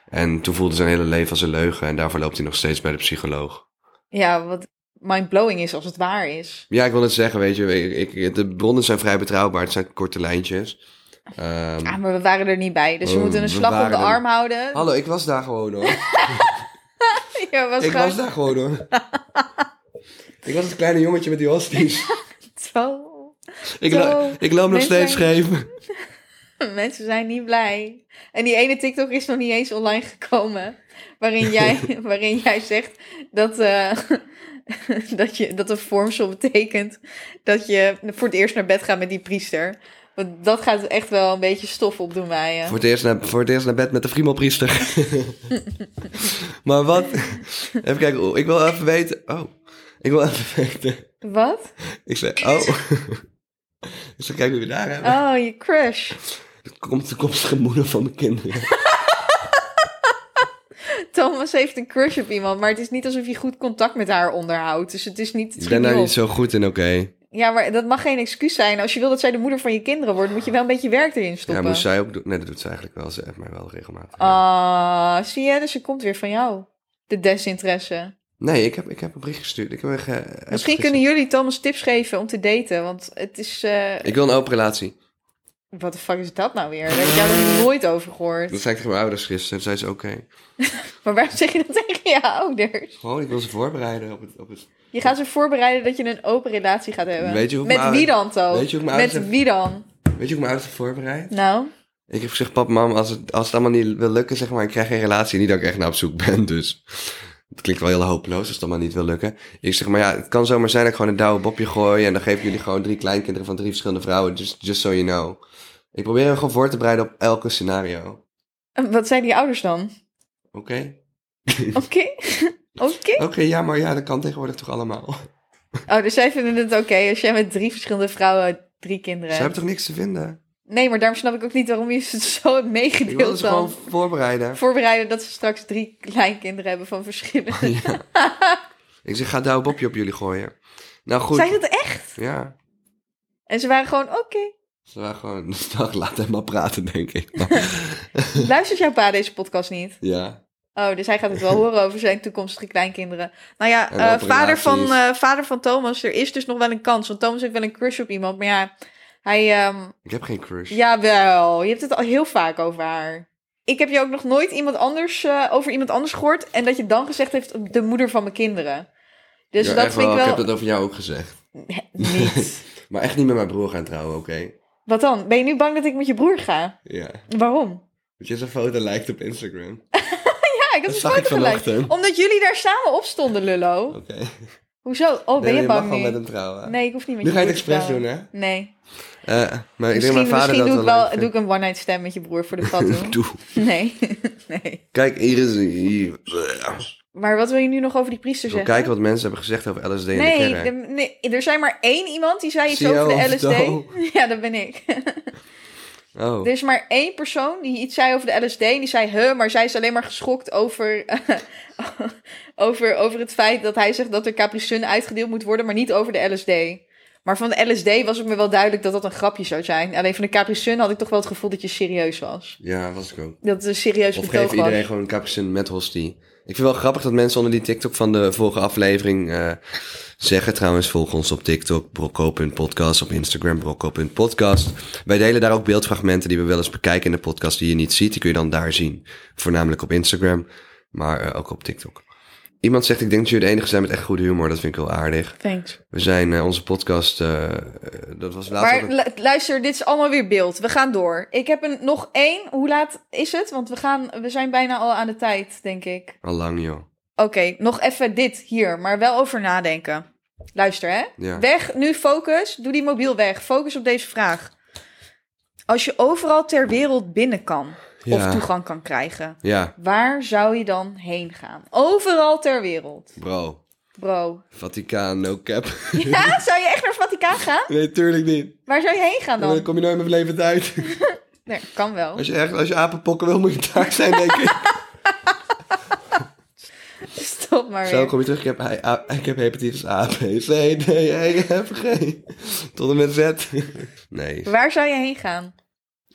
En toen voelde zijn hele leven als een leugen. En daarvoor loopt hij nog steeds bij de psycholoog. Ja, wat mindblowing is als het waar is. Ja, ik wil het zeggen, weet je. Ik, ik- de bronnen zijn vrij betrouwbaar. Het zijn korte lijntjes. Ehm, Ah, maar we waren er niet bij, dus we Oh, moeten we een slag op waren de er- arm houden. Hallo, ik was daar gewoon hoor. Ja, was ik gewoon was daar gewoon hoor. ik was het kleine jongetje met die hosties. zo. ik, lo- Zo, ik loop nog mensen steeds zijn- scheef. Mensen zijn niet blij. En die ene TikTok is nog niet eens online gekomen. Waarin jij, waarin jij zegt dat, eh, dat, je, dat een vormsel betekent dat je voor het eerst naar bed gaat met die priester. Want dat gaat echt wel een beetje stof opdoen bij je. Voor het, eerst naar, voor het eerst naar bed met de friemelpriester. maar wat... Even kijken. oh, Ik wil even weten... Oh. Ik wil even weten... Wat? Ik zei... Oh. ik zei, kijk hoe we daar hebben. Oh, je crush. De komt de komstige moeder van mijn kinderen. Thomas heeft een crush op iemand, maar het is niet alsof je goed contact met haar onderhoudt. Dus het is niet. het ik schiet ben daar niet niet op. zo goed in, oké. Ja, maar dat mag geen excuus zijn. Als je wil dat zij de moeder van je kinderen wordt, moet je wel een beetje werk erin Ja, stoppen. moest zij ook doen? Nee, dat doet ze eigenlijk wel. Ze heeft mij wel regelmatig. Ah, zie je, dus het komt weer van jou. De desinteresse. Nee, ik heb, ik heb een bericht gestuurd. Ik heb een ge- heb Misschien gisteren- kunnen jullie Thomas tips geven om te daten, want het is... eh Ik wil een open relatie. Wat de fuck is dat nou weer? Daar heb ik jou Eh. nog nooit over gehoord. Dat zei ik tegen mijn ouders gisteren. En zei ze, oké. Maar waarom zeg je dat tegen je ouders? Gewoon, ik wil ze voorbereiden op het... Op het... Je gaat ze voorbereiden dat je een open relatie gaat hebben. Weet je hoe ik Met mijn wie dan, ouders- Toon? Weet je hoe ik mijn Met ouders heb- wie dan? Weet je hoe ik mijn ouders heb voorbereid? Nou, Ik heb gezegd, pap, mam, als het, als het allemaal niet wil lukken, zeg maar, ik krijg geen relatie. Niet dat ik echt naar op zoek ben, dus... Het klinkt wel heel hopeloos als het allemaal niet wil lukken. Ik zeg, maar ja, het kan zomaar zijn dat ik gewoon een douwe bobje gooi... en dan geven jullie gewoon drie kleinkinderen van drie verschillende vrouwen. Just, just so you know. Ik probeer hem gewoon voor te bereiden op elke scenario. Oké? eh, wat zijn die ouders dan? Oké? Oké? Oké, ja, maar ja, dat kan tegenwoordig toch allemaal? Oh, dus zij vinden het oké als jij met drie verschillende vrouwen drie kinderen Ze hebben hebt. toch niks te vinden? Nee, maar daarom snap ik ook niet waarom je ze zo hebt Ik wil meegedeeld ze dan. gewoon voorbereiden. voorbereiden dat ze straks drie kleinkinderen hebben van verschillende. Ja. Ik zeg, ga douwe bobje op jullie gooien. Nou goed. Zijn dat echt? Ja, En ze waren gewoon, oké, ze waren gewoon een dag laat hem maar praten, denk ik. Maar, luistert jouw pa deze podcast niet? ja. Oh, dus hij gaat het wel horen over zijn toekomstige kleinkinderen. Nou ja, En eh, operaties. vader, van, eh, vader van Thomas, er is dus nog wel een kans. Want Thomas heeft wel een crush op iemand. Maar ja, hij... ehm Ik heb geen crush. jawel, je hebt het al heel vaak over haar. Ik heb je ook nog nooit iemand anders, eh, over iemand anders gehoord. En dat je dan gezegd heeft, de moeder van mijn kinderen. Dus Ja, dat echt vind ik Ik wel... heb dat over jou ook gezegd. Niet. Maar echt niet met mijn broer gaan trouwen, oké? Wat dan? Ben je nu bang dat ik met je broer ga? Ja. Waarom? Dat je zijn foto lijkt op Instagram. Ja, ik had Dat een zag ik foto gelijk. vanochtend. Oké. Omdat jullie daar samen op stonden, lullo. Nee, Hoezo? Oh, ben maar je, je mag bang wel nu? met hem trouwen. Nee, ik hoef niet met nu je ga je het broer te expres doen, trouwen. hè? Nee. Eh, maar ik denk Misschien, dat mijn vader misschien dat doe ik wel wel, leuk doe ik vindt. een one-night stand met je broer voor de tattoo. Doe. nee. nee. Kijk, hier is... Hier. Maar wat wil je nu nog over die priester Ik wil zeggen? kijken wat mensen hebben gezegd over LSD in de nee, kerk. de- nee, er zijn maar één iemand die zei iets Zie je over de wel, LSD. Toon? Ja, dat ben ik. Oh. Er is maar één persoon die iets zei over de LSD. En die zei, huh, maar zij is alleen maar geschokt over, over, over het feit dat hij zegt dat er Capri Sun uitgedeeld moet worden, maar niet over de LSD. Maar van de LSD was het me wel duidelijk dat dat een grapje zou zijn. Alleen van de Capri Sun had ik toch wel het gevoel dat je serieus was. Ja, was ik ook. Dat het een serieus Of betoog geef was. iedereen gewoon een capucin met hostie. Ik vind wel grappig dat mensen onder die TikTok van de vorige aflevering eh, zeggen. Trouwens, volg ons op TikTok, brocco.podcast, op Instagram, brocco.podcast. Wij delen daar ook beeldfragmenten die we wel eens bekijken in de podcast die je niet ziet. Die kun je dan daar zien. Voornamelijk op Instagram, maar eh, ook op TikTok. Iemand zegt, ik denk dat jullie de enige zijn met echt goede humor. Dat vind ik wel aardig. Thanks. We zijn eh, onze podcast, eh, eh, dat was laatst ook Maar een- lu- luister, dit is allemaal weer beeld. We gaan door. Ik heb een, nog één. Hoe laat is het? Want we, gaan, we zijn bijna al aan de tijd, denk ik. al lang joh. Oké, nog even dit hier, maar wel over nadenken. Luister, hè? Ja. Weg, nu focus. Doe die mobiel weg. Focus op deze vraag. Als je overal ter wereld binnen kan Ja. of toegang kan krijgen, Ja, waar zou je dan heen gaan? Overal ter wereld, bro. bro. Vaticaan, no cap. Ja, zou je echt naar het Vaticaan gaan? nee, tuurlijk niet. Waar zou je heen gaan Dan dan? kom je nooit meer van levend uit. Nee, kan wel. Als je, echt, als je apenpokken wil, moet je taak zijn, denk ik. Stop. Stop maar Zo weer. kom je terug, ik heb, hij- A- ik heb hepatitis A, B, C, D, E, F, G. Tot en met Z. Nee. Waar zou je heen gaan?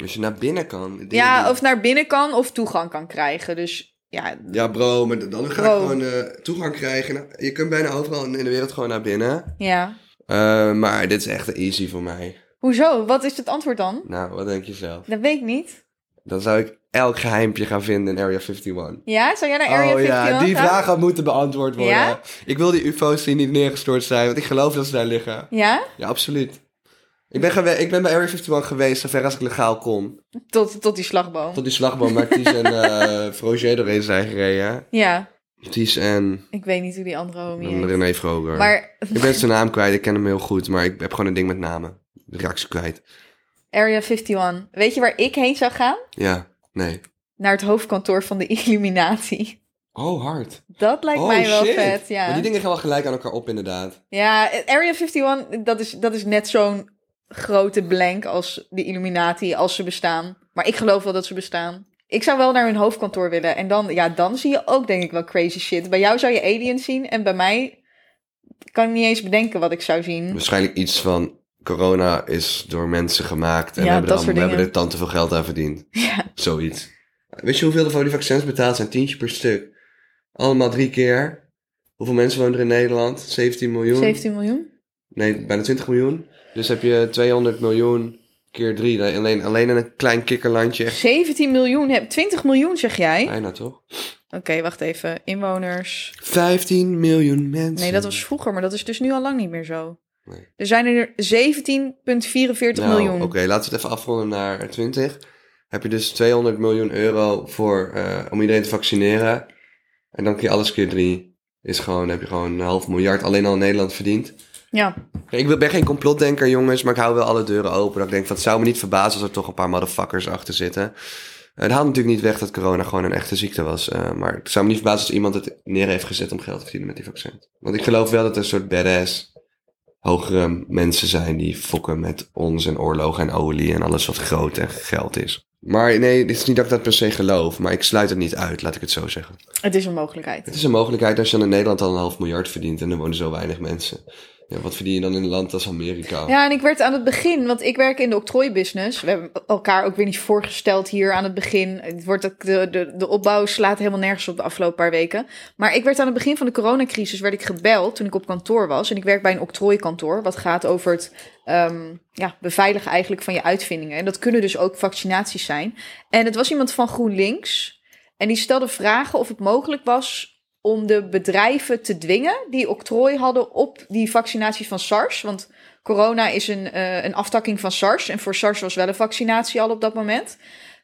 Als je naar binnen kan. dingen Ja, die- of naar binnen kan of toegang kan krijgen. Dus ja, Ja, bro, maar dan ga Bro. ik gewoon eh, toegang krijgen. Nou, je kunt bijna overal in in de wereld gewoon naar binnen. ja. Eh, maar dit is echt easy voor mij. Hoezo? Wat is het antwoord dan? Nou, wat denk je zelf? Dat weet ik niet. Dan zou ik elk geheimpje gaan vinden in Area 51. Ja, zou jij naar Area oh 51 ja, die gaan? vraag had moeten beantwoord worden. Ja? Ik wil die ufo's die niet neergestort zijn, want ik geloof dat ze daar liggen. Ja? Ja, absoluut. Ik ben, gewe- ik ben bij Area 51 geweest, zover als ik legaal kon. Tot, tot die slagboom. Tot die slagboom waar Ties en eh Froger doorheen zijn gereden. Ja, Ties en ik weet niet hoe die andere homie heet. René Vroger. Maar Ik ben zijn naam kwijt, ik ken hem heel goed, maar ik heb gewoon een ding met namen. De reactie kwijt. Area 51. Weet je waar ik heen zou gaan? Ja, nee. Naar het hoofdkantoor van de Illuminati. Oh, hard. Dat lijkt oh, mij wel shit. vet, ja. Maar die dingen gaan wel gelijk aan elkaar op, inderdaad. Ja, Area 51, dat is, dat is net zo'n grote blank als de Illuminati, als ze bestaan. Maar ik geloof wel dat ze bestaan. Ik zou wel naar hun hoofdkantoor willen. En dan, ja, dan zie je ook denk ik wel crazy shit. Bij jou zou je aliens zien en bij mij kan ik niet eens bedenken wat ik zou zien. Waarschijnlijk iets van corona is door mensen gemaakt en Ja, we, hebben dat er, soort allemaal- we dingen. hebben er tante veel geld aan verdiend. Ja. Zoiets. Weet je hoeveel er voor die vaccins betaald zijn? Tientje per stuk. Allemaal drie keer. Hoeveel mensen wonen er in Nederland? 17 miljoen. 17 miljoen? Nee, bijna 20 miljoen. Dus heb je 200 miljoen keer drie. Alleen, alleen in een klein kikkerlandje. Echt 17 miljoen, heb- 20 miljoen zeg jij? Oké, bijna toch? wacht even. Inwoners. 15 miljoen mensen. Nee, dat was vroeger, maar dat is dus nu al lang niet meer zo. Nee. Er zijn er 17,44 Nou, miljoen. Oké, laten we het even afronden naar 20. Heb je dus 200 miljoen euro voor, eh, om iedereen te vaccineren. En dan keer alles keer drie. Is gewoon, heb je gewoon een half miljard alleen al in Nederland verdiend. Ja, Kijk, Ik wil- ben geen complotdenker, jongens, maar ik hou wel alle deuren open. Dat ik denk, van, het zou me niet verbazen als er toch een paar motherfuckers achter zitten. Eh, Het haalt natuurlijk niet weg dat corona gewoon een echte ziekte was. eh, maar het zou me niet verbazen als iemand het neer heeft gezet om geld te verdienen met die vaccins. Want ik geloof wel dat er een soort badass hogere mensen zijn die fokken met ons en oorlogen en olie en alles wat groot en geld is. Maar nee, het is niet dat ik dat per se geloof, maar ik sluit het niet uit, laat ik het zo zeggen. het is een mogelijkheid. Het is een mogelijkheid als je dan in Nederland al een half miljard verdient en er wonen zo weinig mensen. Ja, wat verdien je dan in een land als Amerika? Ja, en ik werd aan het begin, want ik werk in de octrooibusiness. We hebben elkaar ook weer niet voorgesteld hier aan het begin. Het wordt ook de, de, de opbouw slaat helemaal nergens op de afgelopen paar weken. Maar ik werd aan het begin van de coronacrisis werd ik gebeld toen ik op kantoor was. En ik werk bij een octrooikantoor, wat gaat over het ehm, ja, beveiligen eigenlijk van je uitvindingen. En dat kunnen dus ook vaccinaties zijn. En het was iemand van GroenLinks. En die stelde vragen of het mogelijk was om de bedrijven te dwingen die octrooi hadden op die vaccinatie van SARS. Want corona is een, eh, een aftakking van SARS. En voor SARS was wel een vaccinatie al op dat moment.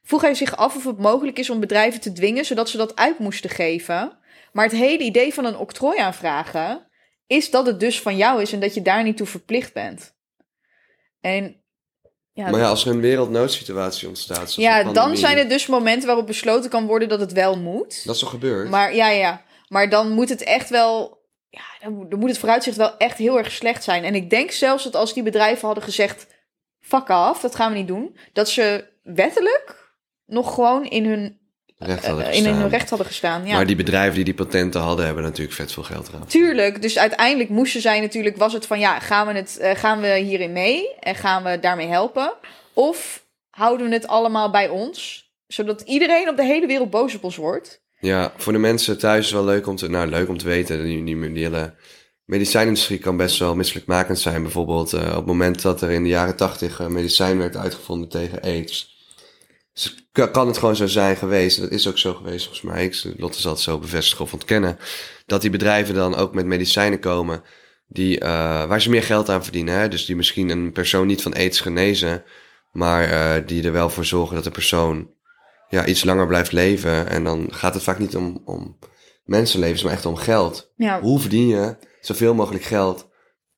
Vroeg hij zich af of het mogelijk is om bedrijven te dwingen, zodat ze dat uit moesten geven. Maar het hele idee van een octrooi aanvragen is dat het dus van jou is en dat je daar niet toe verplicht bent. En ja, Maar ja, als er een wereldnoodsituatie ontstaat. zoals ja een dan pandemie, zijn er dus momenten waarop besloten kan worden dat het wel moet. Dat is toch gebeurd? Maar ja, ja, ja, maar dan moet het echt wel. Ja, dan, moet- dan moet het vooruitzicht wel echt heel erg slecht zijn. En ik denk zelfs dat als die bedrijven hadden gezegd: fuck af, dat gaan we niet doen. Dat ze wettelijk nog gewoon in hun, Recht eh, hadden in hun gestaan. recht hadden gestaan. Ja. Maar die bedrijven die die patenten hadden, hebben natuurlijk vet veel geld gehad. Tuurlijk, dus uiteindelijk moesten zij natuurlijk, was het van ja, gaan we, het, eh, gaan we hierin mee en gaan we daarmee helpen? Of houden we het allemaal bij ons, zodat iedereen op de hele wereld boos op ons wordt? Ja, voor de mensen thuis is wel leuk om te, nou, leuk om te weten. Die, die, die hele medicijnindustrie kan best wel misselijkmakend zijn. Bijvoorbeeld eh, op het moment dat er in de jaren tachtig eh, medicijn werd uitgevonden tegen aids. Dus het ka- kan het gewoon zo zijn geweest, en dat is ook zo geweest volgens mij. Ik, Lotte zal het zo bevestigen of ontkennen. Dat die bedrijven dan ook met medicijnen komen die, eh, waar ze meer geld aan verdienen. Hè? Dus die misschien een persoon niet van aids genezen, maar eh, die er wel voor zorgen dat de persoon ja, iets langer blijft leven. En dan gaat het vaak niet om, om mensenlevens, maar echt om geld. Ja. Hoe verdien je zoveel mogelijk geld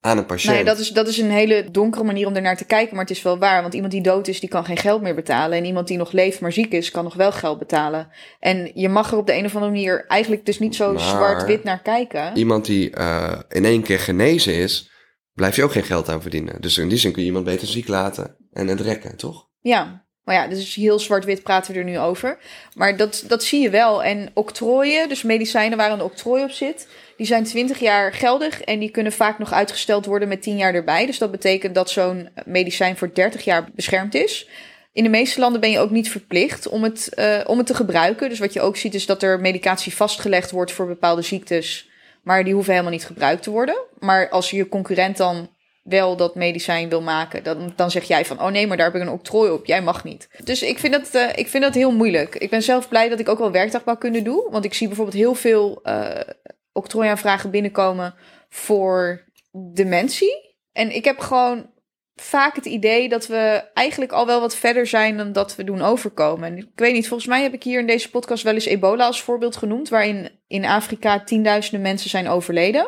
aan een patiënt? Nee, dat is, dat is een hele donkere manier om ernaar te kijken, maar het is wel waar. Want iemand die dood is, die kan geen geld meer betalen. En iemand die nog leeft, maar ziek is, kan nog wel geld betalen. En je mag er op de een of andere manier eigenlijk dus niet zo Maar- zwart-wit naar kijken. Iemand die eh, in één keer genezen is, blijf je ook geen geld aan verdienen. Dus in die zin kun je iemand beter ziek laten en het rekken, toch? Ja, Maar ja, dus heel zwart-wit praten we er nu over. Maar dat, dat zie je wel. En octrooien, dus medicijnen waar een octrooi op zit, die zijn 20 jaar geldig en die kunnen vaak nog uitgesteld worden met 10 jaar erbij. Dus dat betekent dat zo'n medicijn voor 30 jaar beschermd is. In de meeste landen ben je ook niet verplicht om het, eh, om het te gebruiken. Dus wat je ook ziet is dat er medicatie vastgelegd wordt voor bepaalde ziektes, maar die hoeven helemaal niet gebruikt te worden. Maar als je concurrent dan wel dat medicijn wil maken, dan, dan zeg jij van, oh nee, maar daar heb ik een octrooi op, jij mag niet. Dus ik vind, dat, eh, ik vind dat heel moeilijk. Ik ben zelf blij dat ik ook wel werkdagbouwkunde doe, want ik zie bijvoorbeeld heel veel eh octrooiaanvragen binnenkomen voor dementie. En ik heb gewoon vaak het idee dat we eigenlijk al wel wat verder zijn dan dat we doen overkomen. En ik weet niet, volgens mij heb ik hier in deze podcast wel eens ebola als voorbeeld genoemd, waarin in Afrika tienduizenden mensen zijn overleden.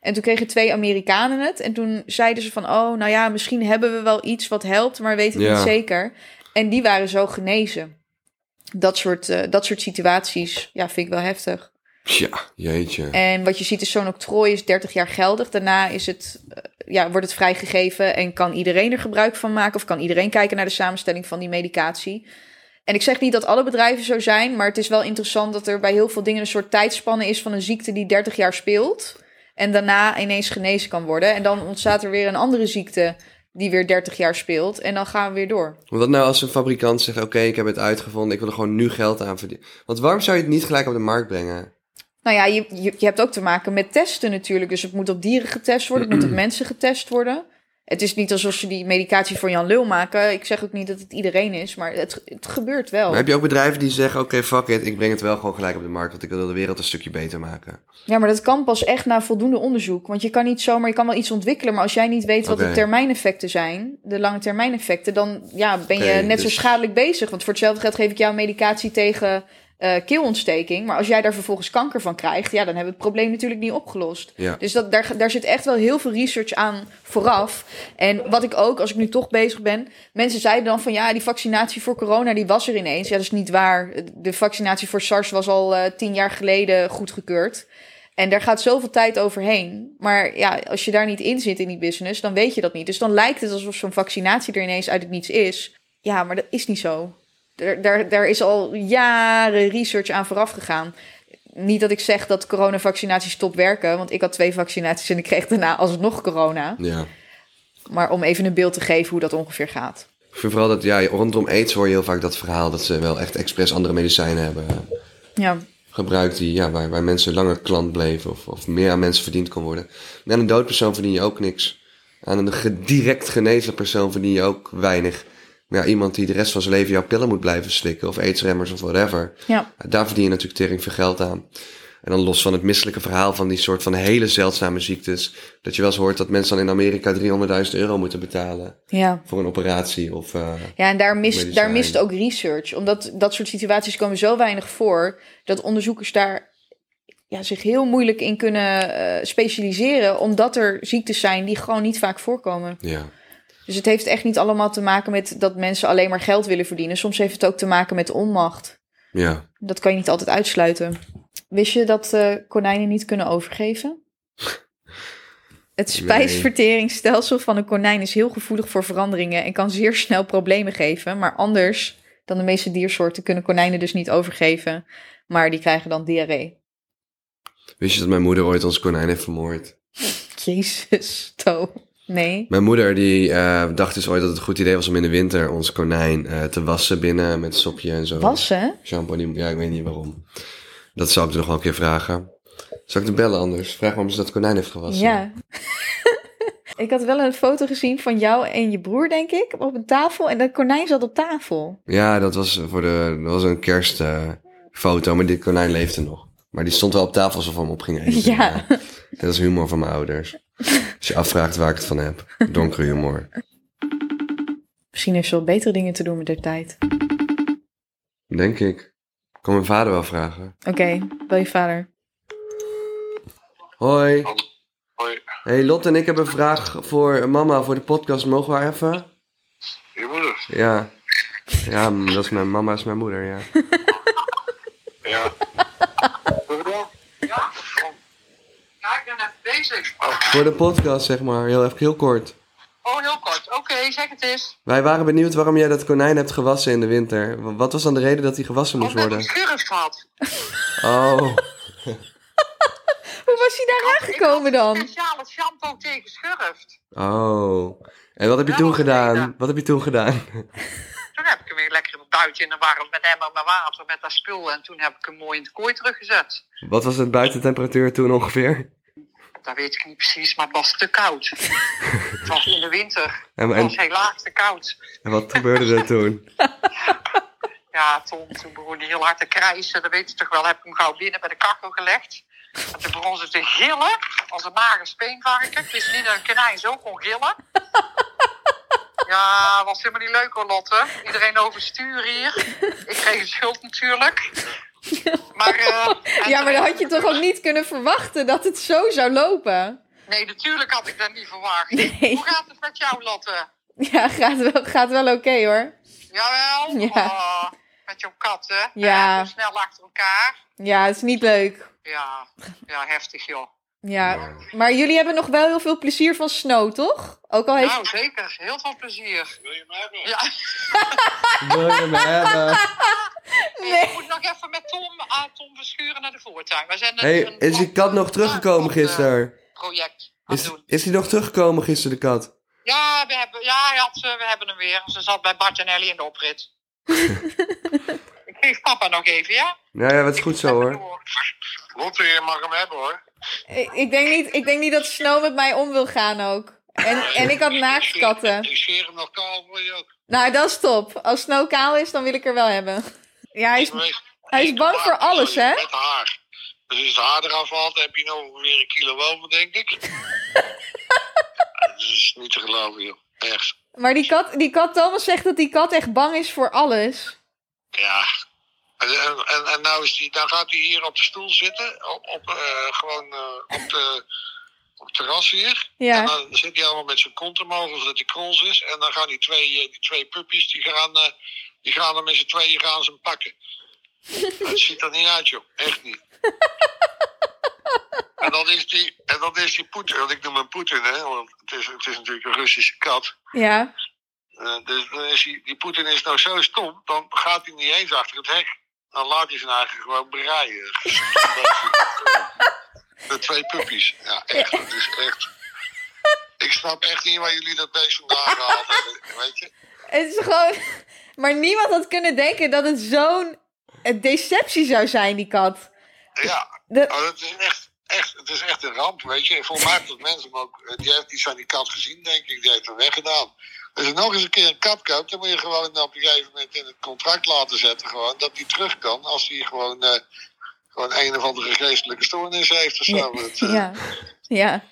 En toen kregen twee Amerikanen het. En toen zeiden ze van, oh, nou ja, misschien hebben we wel iets wat helpt, maar we weten het Ja. niet zeker. En die waren zo genezen. Dat soort, eh, dat soort situaties, ja, vind ik wel heftig. Ja, jeetje. En wat je ziet is zo'n octrooi is 30 jaar geldig. Daarna is het, eh, ja, wordt het vrijgegeven en kan iedereen er gebruik van maken. Of kan iedereen kijken naar de samenstelling van die medicatie. En ik zeg niet dat alle bedrijven zo zijn. Maar het is wel interessant dat er bij heel veel dingen een soort tijdspanne is van een ziekte die 30 jaar speelt. En daarna ineens genezen kan worden. En dan ontstaat er weer een andere ziekte die weer 30 jaar speelt. En dan gaan we weer door. Wat nou als een fabrikant zegt, oké, ik heb het uitgevonden, ik wil er gewoon nu geld aan verdienen. Want waarom zou je het niet gelijk op de markt brengen? Nou ja, je, je, je hebt ook te maken met testen natuurlijk. Dus het moet op dieren getest worden, het moet op mensen getest worden. Het is niet alsof ze die medicatie voor Jan Lul maken. Ik zeg ook niet dat het iedereen is, maar het, het gebeurt wel. Maar heb je ook bedrijven die zeggen, oké, fuck it, ik breng het wel gewoon gelijk op de markt, want ik wil de wereld een stukje beter maken. Ja, maar dat kan pas echt na voldoende onderzoek. Want je kan niet zomaar, je kan wel iets ontwikkelen, maar als jij niet weet wat Oké. de termijneffecten zijn, de lange termijneffecten, dan ja, ben je Oké, net zo dus- schadelijk bezig. Want voor hetzelfde geld geef ik jou medicatie tegen eh, keelontsteking. Maar als jij daar vervolgens kanker van krijgt, ja, dan hebben we het probleem natuurlijk niet opgelost. Ja. Dus dat, daar, daar zit echt wel heel veel research aan vooraf. En wat ik ook, als ik nu toch bezig ben, mensen zeiden dan van ja, die vaccinatie voor corona, die was er ineens. Ja, dat is niet waar. De vaccinatie voor SARS was al eh, tien jaar geleden goedgekeurd. En daar gaat zoveel tijd overheen. Maar ja, als je daar niet in zit in die business, dan weet je dat niet. Dus dan lijkt het alsof zo'n vaccinatie er ineens uit het niets is. Ja, maar dat is niet zo. Daar, daar, daar is al jaren research aan vooraf gegaan. Niet dat ik zeg dat coronavaccinaties stop werken, want ik had twee vaccinaties en ik kreeg daarna alsnog corona. Ja. Maar om even een beeld te geven hoe dat ongeveer gaat. Ik vind vooral dat, ja, rondom aids hoor je heel vaak dat verhaal dat ze wel echt expres andere medicijnen hebben eh, Ja, gebruikt die, ja, waar, waar mensen langer klant bleven of, of meer aan mensen verdiend kon worden. En aan een dood persoon verdien je ook niks. Aan een ge- direct genezen persoon verdien je ook weinig. Maar ja, iemand die de rest van zijn leven jouw pillen moet blijven slikken of aidsremmers of whatever, ja. daar verdien je natuurlijk tering veel geld aan. En dan los van het misselijke verhaal van die soort van hele zeldzame ziektes, dat je wel eens hoort dat mensen dan in Amerika 300.000 euro moeten betalen ja. voor een operatie of... eh, Ja, en daar mist, Medicijn. daar mist ook research. Omdat dat soort situaties komen zo weinig voor... dat onderzoekers daar ja, zich heel moeilijk in kunnen eh, specialiseren... omdat er ziektes zijn die gewoon niet vaak voorkomen. ja. Dus het heeft echt niet allemaal te maken met dat mensen alleen maar geld willen verdienen. Soms heeft het ook te maken met onmacht. ja. Dat kan je niet altijd uitsluiten. Wist je dat eh, konijnen niet kunnen overgeven? Het spijsverteringsstelsel van een konijn is heel gevoelig voor veranderingen en kan zeer snel problemen geven. Maar anders dan de meeste diersoorten kunnen konijnen dus niet overgeven. Maar die krijgen dan diarree. Wist je dat mijn moeder ooit ons konijn heeft vermoord? Jezus, To. Nee. Mijn moeder die eh, dacht dus ooit dat het een goed idee was om in de winter ons konijn eh, te wassen binnen met sopje en zo. Wassen? Shampoo, die- ja, ik weet niet waarom. Dat zou ik nog wel een keer vragen. Zal ik de bellen anders? Vraag waarom ze dat konijn heeft gewassen. Ja. ik had wel een foto gezien van jou en je broer, denk ik, op een tafel. En dat konijn zat op tafel. Ja, dat was, voor de, dat was een kerstfoto, maar dit konijn leefde nog. Maar die stond wel op tafel alsof we hem op gingen eten. Ja. Dat is humor van mijn ouders. Als je afvraagt waar ik het van heb. Donkere humor. Misschien heeft ze wel betere dingen te doen met haar tijd. Denk ik. Kan mijn vader wel vragen. Oké, bel je vader. Hoi. Hoi, Hey Lot en ik heb een vraag voor mama voor de podcast. Mogen we haar even? je moeder. Ja. Ja, m, dat is mijn mama, is mijn moeder, ja. Ja. Hoeveel? Ja. Ja, ik ben even bezig. Oh. Voor de podcast, zeg maar. Heel even, heel kort. Oh, heel kort. Oké. zeg het eens. Wij waren benieuwd waarom jij dat konijn hebt gewassen in de winter. Wa- Wat was dan de reden dat hij gewassen moest Omdat worden? ik schurft had. Oh, Hoe was je daar aangekomen dan? Speciale shampoo tegen schurft. oh. En wat heb je Ja, toen dat was de gedaan? reden. Wat heb je toen gedaan? Toen heb ik hem weer lekker in het buiten in de warm met hem en met water met dat spul. En toen heb ik hem mooi in de kooi teruggezet. Wat was het buitentemperatuur toen ongeveer? Dat weet ik niet precies, maar het was te koud. het was in de winter. En, Het was en, helaas te koud. en wat gebeurde er toen? Ja, toen, toen begon hij heel hard te krijsen. Dat weet je toch wel. Heb ik hem gauw binnen bij de kachel gelegd. En toen begon ze te gillen. Als een mager speenvarken. Ik wist niet dat een konijn zo kon gillen. Ja, was helemaal niet leuk hoor, Lotte. Iedereen overstuur hier. Ik kreeg een schuld natuurlijk. Maar, eh, en Ja, maar toen- dan had je toch ook niet kunnen verwachten dat het zo zou lopen? Nee, natuurlijk had ik dat niet verwacht. Nee. Hoe gaat het met jou, Lotte? Ja, gaat wel, gaat wel oké hoor. Jawel? Ja. Oh, met jouw katten. Ja. Eh, zo snel achter elkaar. Ja, het is niet leuk. Ja, ja heftig joh. Ja, maar jullie hebben nog wel heel veel plezier van Snow, toch? Ook al heeft... Nou, zeker. Heel veel plezier. Wil je hem hebben? Ja, Wil je hem hebben? ik moet nog even met Tom, ah, Tom verschuren naar de voortuin. Wij zijn Hey, is die kat nog teruggekomen gisteren? eh, project aan het Is, doen. is die nog teruggekomen gisteren, de kat? Ja, we hebben, ja hij had, eh, we hebben hem weer. Ze zat bij Bart en Ellie in de oprit. ik geef papa nog even, ja? Nou ja, dat is goed zo hoor. Door. Lotte, je mag hem hebben hoor. Ik, ik denk niet, ik denk niet dat Snow met mij om wil gaan ook. En, en ik had naaktkatten. Ik scheer hem nog kaal voor je ook. Nou, dat is top. Als Snow kaal is, dan wil ik er wel hebben. Ja, hij is, hij is bang voor alles, hè? Met haar. Dus als het haar eraf valt, heb je nog ongeveer een kilo over, denk ik. Dat is niet te geloven, joh. Echt. Maar die kat, die kat, Thomas zegt dat die kat echt bang is voor alles. Ja. En, en- en, en nou is die, dan gaat hij hier op de stoel zitten. Op, op, eh, gewoon eh, op, de, op het terras hier. En Ja, dan zit hij allemaal met zijn kont omhoog, of dat hij krols is. En dan gaan die twee, eh, die twee puppies, die gaan, eh, die gaan hem met z'n tweeën gaan ze hem pakken. Het ziet er niet uit, joh. Echt niet. En dan is die, en dan is die Poetin, want ik noem hem Poetin, hè. Want het is, het is natuurlijk een Russische kat. ja. Eh, dus dan is die, die Poetin is nou zo stom, dan gaat hij niet eens achter het hek. Dan laat hij zijn eigen gewoon breien. De eh, twee puppies. Ja, echt. Dat is echt. Ik snap echt niet waar jullie dat beest vandaan gehaald hebben. Weet je? Het is gewoon. Maar niemand had kunnen denken dat het zo'n eh, deceptie zou zijn, die kat. Ja, De- oh, dat is echt, echt, het is echt een ramp, weet je. En volgens mij hebben mensen hem ook eh, die heeft iets aan die kat gezien, denk ik. Die heeft hem weggedaan. Als je nog eens een keer een kat koopt, dan moet je gewoon op een gegeven moment in het contract laten zetten. Gewoon, dat die terug kan als hij gewoon, eh, gewoon een of andere geestelijke stoornis heeft of zo. Dat, eh, Ja. Ja.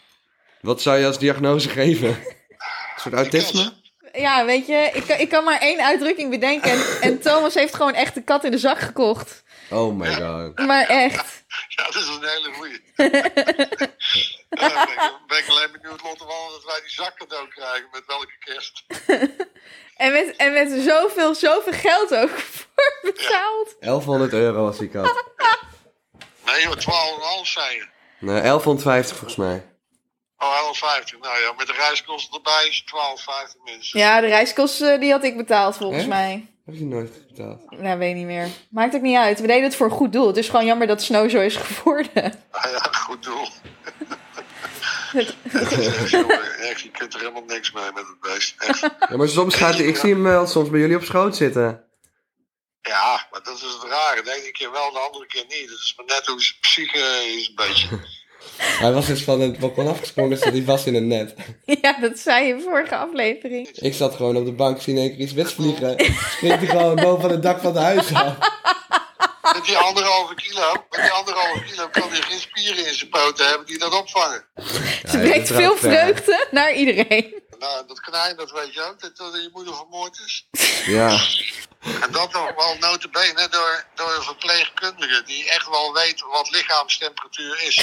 Wat zou je als diagnose geven? Een soort autisme? Ja, weet je, ik, kan- ik kan maar één uitdrukking bedenken. En, en Thomas heeft gewoon echt de kat in de zak gekocht. Oh my god. Maar echt. Ja, dat is een hele goeie. Ja, dan ben, ik, ben ik alleen benieuwd, Lotte, wel dat wij die zak cadeau krijgen. Met welke kerst. En met, en met zoveel, zoveel geld ook voor betaald. 1100 euro was die kat. Nee joh, 12,5 zei je. Nou, 1150 volgens mij. Oh, 11,50. Nou ja, met de reiskosten erbij is het 12,50 minstens. Ja, de reiskosten eh, die had ik betaald volgens Hè? mij. Heb je nooit betaald? Nou, weet niet meer. Maakt ook niet uit. We deden het voor een goed doel. Het is gewoon jammer dat Snow zo is geworden. Ah ja, goed doel. Dat is echt, jongen, echt, je kunt er helemaal niks mee met het beest. Echt. Ja, maar soms gaat hij, ik zie hem wel soms bij jullie op schoot zitten. Ja, maar dat is het rare. De ene keer wel, de andere keer niet. Dat is maar net hoe zijn psyche is een beetje. Hij was dus van het balkon afgesprongen, dus die was in het net. Ja, dat zei je vorige aflevering. Ik zat gewoon op de bank, zie in één keer iets wits vliegen. Springt hij gewoon boven het dak van het huis af. Met die anderhalve kilo, met die anderhalve kilo kan hij geen spieren in zijn poten hebben die dat opvangen. Ze brengt veel vreugde naar iedereen. Nou, dat konijn, dat weet je ook, dat, dat je moeder vermoord is. Ja. En dat nog wel notabene door, door een verpleegkundige die echt wel weet wat lichaamstemperatuur is.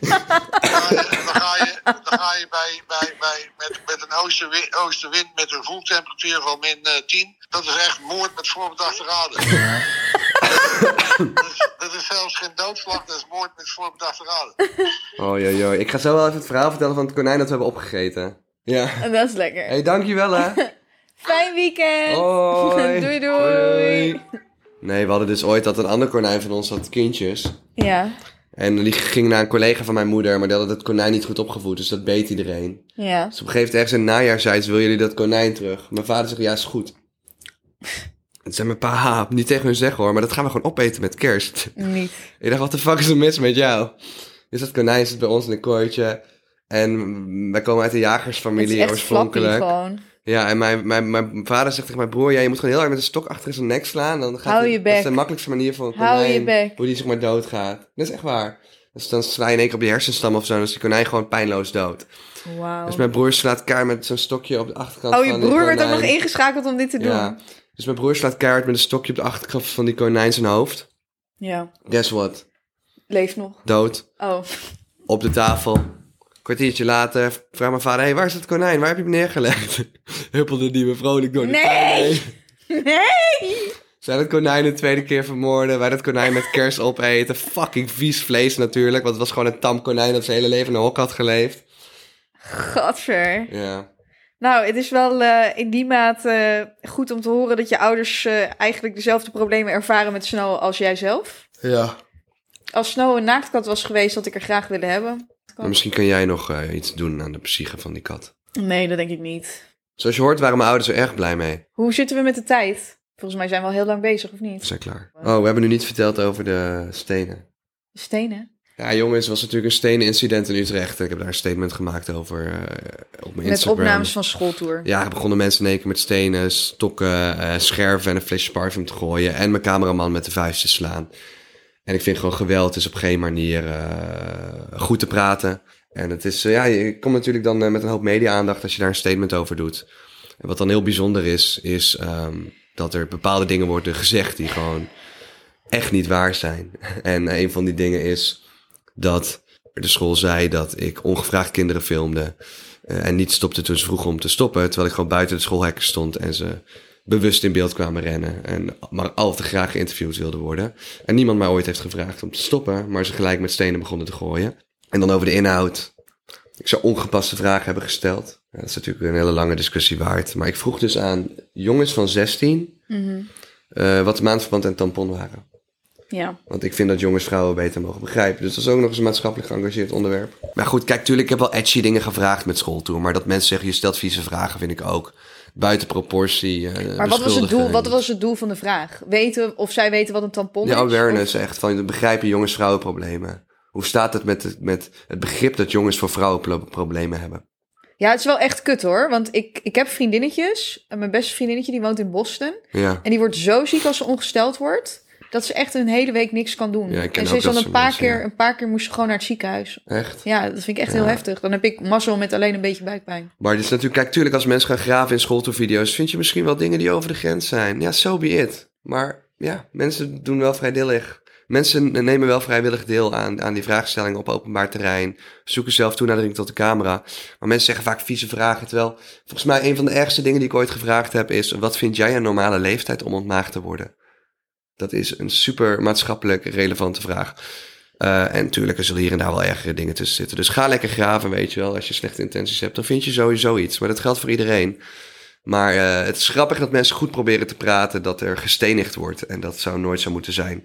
dan ga je, dan ga je, dan ga je bij, bij, bij, met, met een oostenwind, oostenwind met een voeltemperatuur van min eh, 10. Dat is echt moord met voorbedachte raden. dat, is, dat is zelfs geen doodslag, dat is moord met voorbedachte raden. Oh joh, joh. Ik ga zo wel even het verhaal vertellen van het konijn dat we hebben opgegeten. Ja. Hé, En dat is lekker. hey, Oh. dankjewel hè. Fijn weekend. Hoi. doei, doei. Nee, we hadden dus ooit dat een ander konijn van ons had kindjes. Ja, En die ging naar een collega van mijn moeder, maar die had het konijn niet goed opgevoed, dus dat beet iedereen. ja. Dus op een gegeven moment ergens in het najaar zei ze, wil jullie dat konijn terug? Mijn vader zegt, ja is goed. Het zei mijn pa, "Ha, niet tegen hun zeggen hoor, maar dat gaan we gewoon opeten met kerst. Niet. Ik dacht, wat de fuck is er mis met jou? Dus dat konijn zit bij ons in een kooitje. En wij komen uit een Het is jagersfamilie echt flappy oorspronkelijk. gewoon. Ja, en mijn, mijn, mijn vader zegt tegen mijn broer... Ja, je moet gewoon heel hard met een stok achter in zijn nek slaan. Dan gaat Hou hij- je Dat is bek. de makkelijkste manier van een konijn, Hou je bek. hoe die zeg maar doodgaat. Dat is echt waar. Dus dan sla je in één keer op die hersenstam of zo... en dan is die konijn gewoon pijnloos Oh. dood. Wauw. Dus mijn broer slaat kaart met zo'n stokje op de achterkant Oh, je van die broer werd ook konijn. nog ingeschakeld om dit te doen. Ja. Ja. Dus mijn broer slaat kaart met een stokje op de achterkant van die konijn zijn hoofd. Guess what? Leeft nog. Dood. Oh. Op de tafel. Kwartiertje later vraagt mijn vader: hey, waar is dat konijn? Waar heb je hem neergelegd? Huppelde die me vrolijk door de Nee! tuin heen. Nee! Zij dat konijn de tweede keer vermoorden. Wij dat konijn met kerst opeten. Fucking vies vlees natuurlijk. Want het was gewoon een tam konijn dat zijn hele leven in een hok had geleefd. Gadver. Ja. Nou, het is wel eh, in die mate eh, goed om te horen dat je ouders eh, eigenlijk dezelfde problemen ervaren met Snow als jijzelf. Ja. Als Snow een naaktkat was geweest, had ik er graag willen hebben. Maar misschien kan jij nog eh, iets doen aan de psyche van die kat. Nee, dat denk ik niet. Zoals je hoort waren mijn ouders er erg blij mee. Hoe zitten we met de tijd? Volgens mij zijn we al heel lang bezig, of We niet? zijn klaar. Oh, we hebben nu niet verteld over de stenen. De stenen. Ja, jongens, er was natuurlijk een stenen incident in Utrecht. Ik heb daar een statement gemaakt over eh, op Met mijn Instagram. opnames van schooltour. Ja, begonnen mensen in één keer met stenen, stokken, eh, scherven en een flesje parfum te gooien. En mijn cameraman met de vuist te slaan. En ik vind gewoon geweld is op geen manier eh, goed te praten. En het is, eh, ja, je komt natuurlijk dan eh, met een hoop media-aandacht als je daar een statement over doet. En wat dan heel bijzonder is, is ehm, dat er bepaalde dingen worden gezegd die gewoon echt niet waar zijn. En eh, een van die dingen is dat de school zei dat ik ongevraagd kinderen filmde. eh, en niet stopte toen ze vroegen om te stoppen. Terwijl ik gewoon buiten de schoolhekken stond en ze bewust in beeld kwamen rennen. En maar al te graag geïnterviewd wilden worden. En niemand mij ooit heeft gevraagd om te stoppen. Maar ze gelijk met stenen begonnen te gooien. En dan over de inhoud. Ik zou ongepaste vragen hebben gesteld. Ja, dat is natuurlijk een hele lange discussie waard. Maar ik vroeg dus aan jongens van 16 Mhm. eh, wat de maandverband en tampon waren. ja. Want ik vind dat jongens vrouwen beter mogen begrijpen. Dus dat is ook nog eens een maatschappelijk geëngageerd onderwerp. Maar goed, kijk, tuurlijk, ik heb wel edgy dingen gevraagd met schooltour. Maar dat mensen zeggen, je stelt vieze vragen, vind ik ook. Buiten proportie. eh, Maar wat was, het doel, beschuldigend. wat was het doel van de vraag? Weten of zij weten wat een tampon Ja, is? awareness echt. Van begrijpen jongens vrouwen problemen. Hoe staat het met, het met het begrip dat jongens voor vrouwen pro- problemen hebben? Ja, het is wel echt kut hoor. Want ik, ik heb vriendinnetjes. En mijn beste vriendinnetje die woont in Boston. Ja. En die wordt zo ziek als ze ongesteld wordt. Dat ze echt een hele week niks kan doen. Ja, ik ken en ze ook is dan dat een soort paar, mensen, keer, ja. een paar keer moest ze gewoon naar het ziekenhuis. Echt. Ja, dat vind ik echt Ja. heel heftig. Dan heb ik mazzel met alleen een beetje buikpijn. Maar het is natuurlijk, kijk, tuurlijk, als mensen gaan graven in schooltourvideo's, vind je misschien wel dingen die over de grens zijn. Ja, so be it. Maar ja, mensen doen wel vrijwillig. Mensen nemen wel vrijwillig deel aan, aan die vraagstellingen op openbaar terrein. Zoeken zelf toenadering tot de camera. Maar mensen zeggen vaak vieze vragen. Terwijl, volgens mij, een van de ergste dingen die ik ooit gevraagd heb is: wat vind jij een normale leeftijd om ontmaagd te worden? Dat is een super maatschappelijk relevante vraag. Eh, en natuurlijk, er zullen hier en daar wel ergere dingen tussen zitten. Dus ga lekker graven, weet je wel. Als je slechte intenties hebt, dan vind je sowieso iets. Maar dat geldt voor iedereen. Maar eh, het is grappig dat mensen goed proberen te praten dat er gestenigd wordt. En dat zou nooit zo moeten zijn.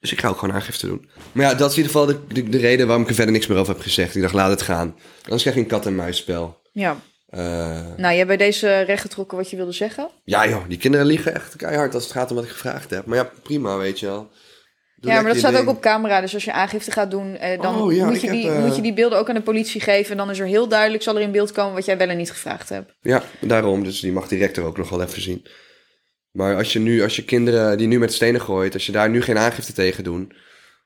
Dus ik ga ook gewoon aangifte doen. Maar ja, dat is in ieder geval de, de, de reden waarom ik er verder niks meer over heb gezegd. Ik dacht, laat het gaan. Anders krijg je een kat-en-muisspel. Ja. Eh, Nou, jij hebt bij deze recht getrokken wat je wilde zeggen. ja joh, die kinderen liegen echt keihard als het gaat om wat ik gevraagd heb. Maar ja, prima, weet je wel. Doe ja, lekker maar dat je staat ding. ook op camera. Dus als je aangifte gaat doen, eh, dan Oh, ja, moet, ik je heb, die, eh, moet je die beelden ook aan de politie geven. En dan is er heel duidelijk, zal er in beeld komen wat jij wel en niet gevraagd hebt. Ja, daarom. Dus die mag direct er ook nog wel even zien. Maar als je nu, als je kinderen die nu met stenen gooit, als je daar nu geen aangifte tegen doen,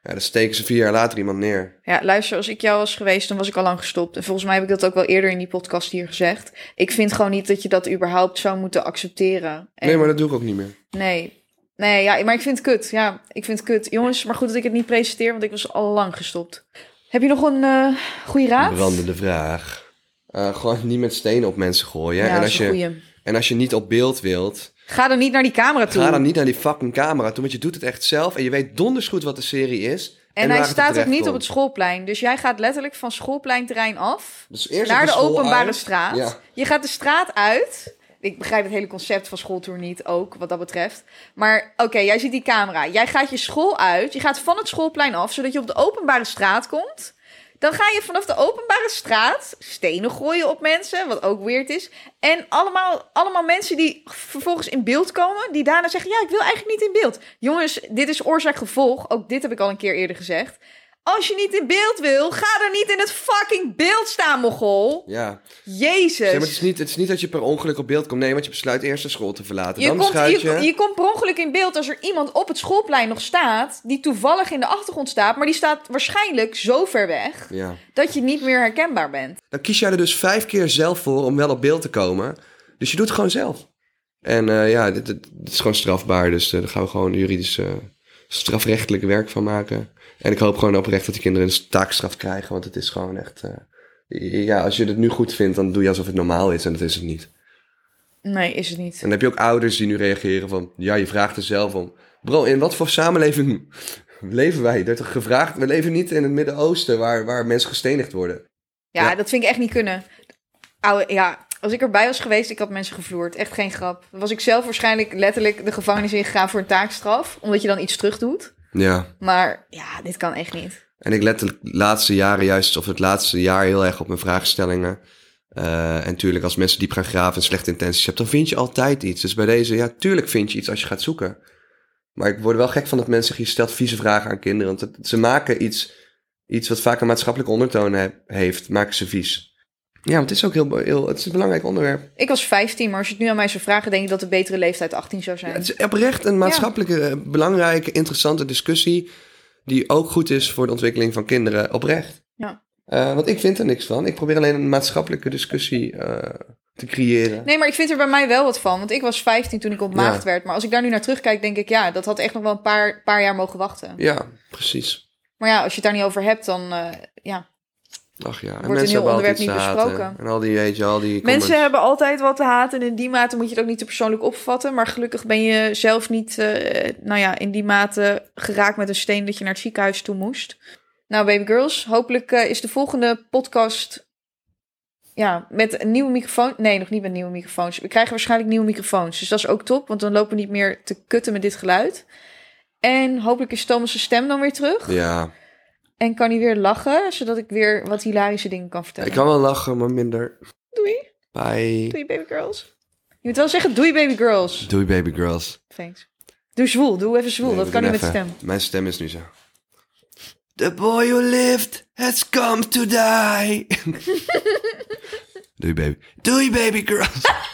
ja, dan steken ze vier jaar later iemand neer. Ja, luister, als ik jou was geweest, dan was ik al lang gestopt. En volgens mij heb ik dat ook wel eerder in die podcast hier gezegd. Ik vind gewoon niet dat je dat überhaupt zou moeten accepteren. En- Nee, maar dat doe ik ook niet meer. Nee. Nee, ja, maar ik vind het kut. Ja, ik vind het kut. Jongens, maar goed dat ik het niet presenteer, want ik was al lang gestopt. Heb je nog een eh, goede raad? Brandende vraag. Eh, gewoon niet met stenen op mensen gooien. Ja, en, dat als is een je, goeie. en als je niet op beeld wilt, Ga dan niet naar die camera toe. Ga dan niet naar die fucking camera toe, want je doet het echt zelf. En je weet donders goed wat de serie is. en hij waar het staat ook terecht niet op komt. het schoolplein. Dus jij gaat letterlijk van schoolpleinterrein af Dus eerst op naar de school openbare uit. straat. Ja. Je gaat de straat uit. Ik begrijp het hele concept van schooltour niet ook, wat dat betreft. Maar oké, jij ziet die camera. Jij gaat je school uit. Je gaat van het schoolplein af, zodat je op de openbare straat komt. Dan ga je vanaf de openbare straat stenen gooien op mensen, wat ook weird is. En allemaal, allemaal mensen die vervolgens in beeld komen, die daarna zeggen: Ja, ik wil eigenlijk niet in beeld. Jongens, dit is oorzaak-gevolg. Ook dit heb ik al een keer eerder gezegd. Als je niet in beeld wil, ga er niet in het fucking beeld staan, mogol. Ja, Jezus. Zeg, maar het, is niet, het is niet dat je per ongeluk op beeld komt. Nee, want je besluit eerst de school te verlaten. je, dan komt, besluit je, je... je komt per ongeluk in beeld als er iemand op het schoolplein nog staat. die toevallig in de achtergrond staat. maar die staat waarschijnlijk zo ver weg. Ja. dat je niet meer herkenbaar bent. Dan kies jij er dus vijf keer zelf voor om wel op beeld te komen. Dus je doet het gewoon zelf. En eh, ja, dit, dit- dit is gewoon strafbaar. Dus eh, daar gaan we gewoon juridisch eh, strafrechtelijk werk van maken. En ik hoop gewoon oprecht dat die kinderen een taakstraf krijgen. Want het is gewoon echt... eh, ja, als je het nu goed vindt, dan doe je alsof het normaal is. En dat is het niet. Nee, is het niet. En dan heb je ook ouders die nu reageren van... Ja, je vraagt er zelf om. Bro, in wat voor samenleving leven wij? Er werd toch gevraagd... We leven niet in het Midden-Oosten waar, waar mensen gestenigd worden. Ja, Ja. dat vind ik echt niet kunnen. Oude, ja, als ik erbij was geweest, ik had mensen gevloerd. Echt geen grap. Dan was ik zelf waarschijnlijk letterlijk de gevangenis ingegaan voor een taakstraf. omdat je dan iets terug doet. Ja. Maar ja, dit kan echt niet. En ik let de laatste jaren juist, of het laatste jaar heel erg op mijn vraagstellingen. Eh, en tuurlijk, als mensen diep gaan graven en slechte intenties hebben, dan vind je altijd iets. Dus bij deze, ja, tuurlijk vind je iets als je gaat zoeken. Maar ik word wel gek van dat mensen je stelt vieze vragen aan kinderen. Want het- ze maken iets, iets wat vaak een maatschappelijke ondertoon he- heeft, maken ze vies. Ja, want het is ook heel, be- heel het is een belangrijk onderwerp. Ik was 15, maar als je het nu aan mij zou vragen, denk ik dat de betere leeftijd 18 zou zijn. Het is oprecht een maatschappelijke, eh, belangrijke, interessante discussie. Die ook goed is voor de ontwikkeling van kinderen. Oprecht. Ja. Eh, want ik vind er niks van. Ik probeer alleen een maatschappelijke discussie eh, te creëren. Nee, maar ik vind er bij mij wel wat van. Want ik was 15 toen ik ontmaagd Ja. werd. Maar als ik daar nu naar terugkijk, denk ik, ja, dat had echt nog wel een paar, paar jaar mogen wachten. Ja, precies. Maar ja, als je het daar niet over hebt, dan eh, ja. Ach ja, en een heel hebben onderwerp altijd iets niet te haten. besproken. En al die, weet je, al die comments. Mensen hebben altijd wat te haten. En in die mate moet je het ook niet te persoonlijk opvatten. Maar gelukkig ben je zelf niet, eh, nou ja, in die mate geraakt met een steen dat je naar het ziekenhuis toe moest. Nou, baby girls, hopelijk eh, is de volgende podcast. Ja, met een nieuwe microfoon. Nee, nog niet met nieuwe microfoons. We krijgen waarschijnlijk nieuwe microfoons. Dus dat is ook top, want dan lopen we niet meer te kutten met dit geluid. En hopelijk is Thomas' stem dan weer terug. Ja, En kan hij weer lachen, zodat ik weer wat hilarische dingen kan vertellen. ik kan wel lachen, maar minder. Doei. Bye. Doei baby girls. Je moet wel zeggen doei baby girls. Doei, baby girls. Thanks. Doe zwoel, doe even zwoel. Nee, dat we kan niet doen met even. stem. Mijn stem is nu zo. The boy who lived has come to die. Doei baby. Doei baby girls.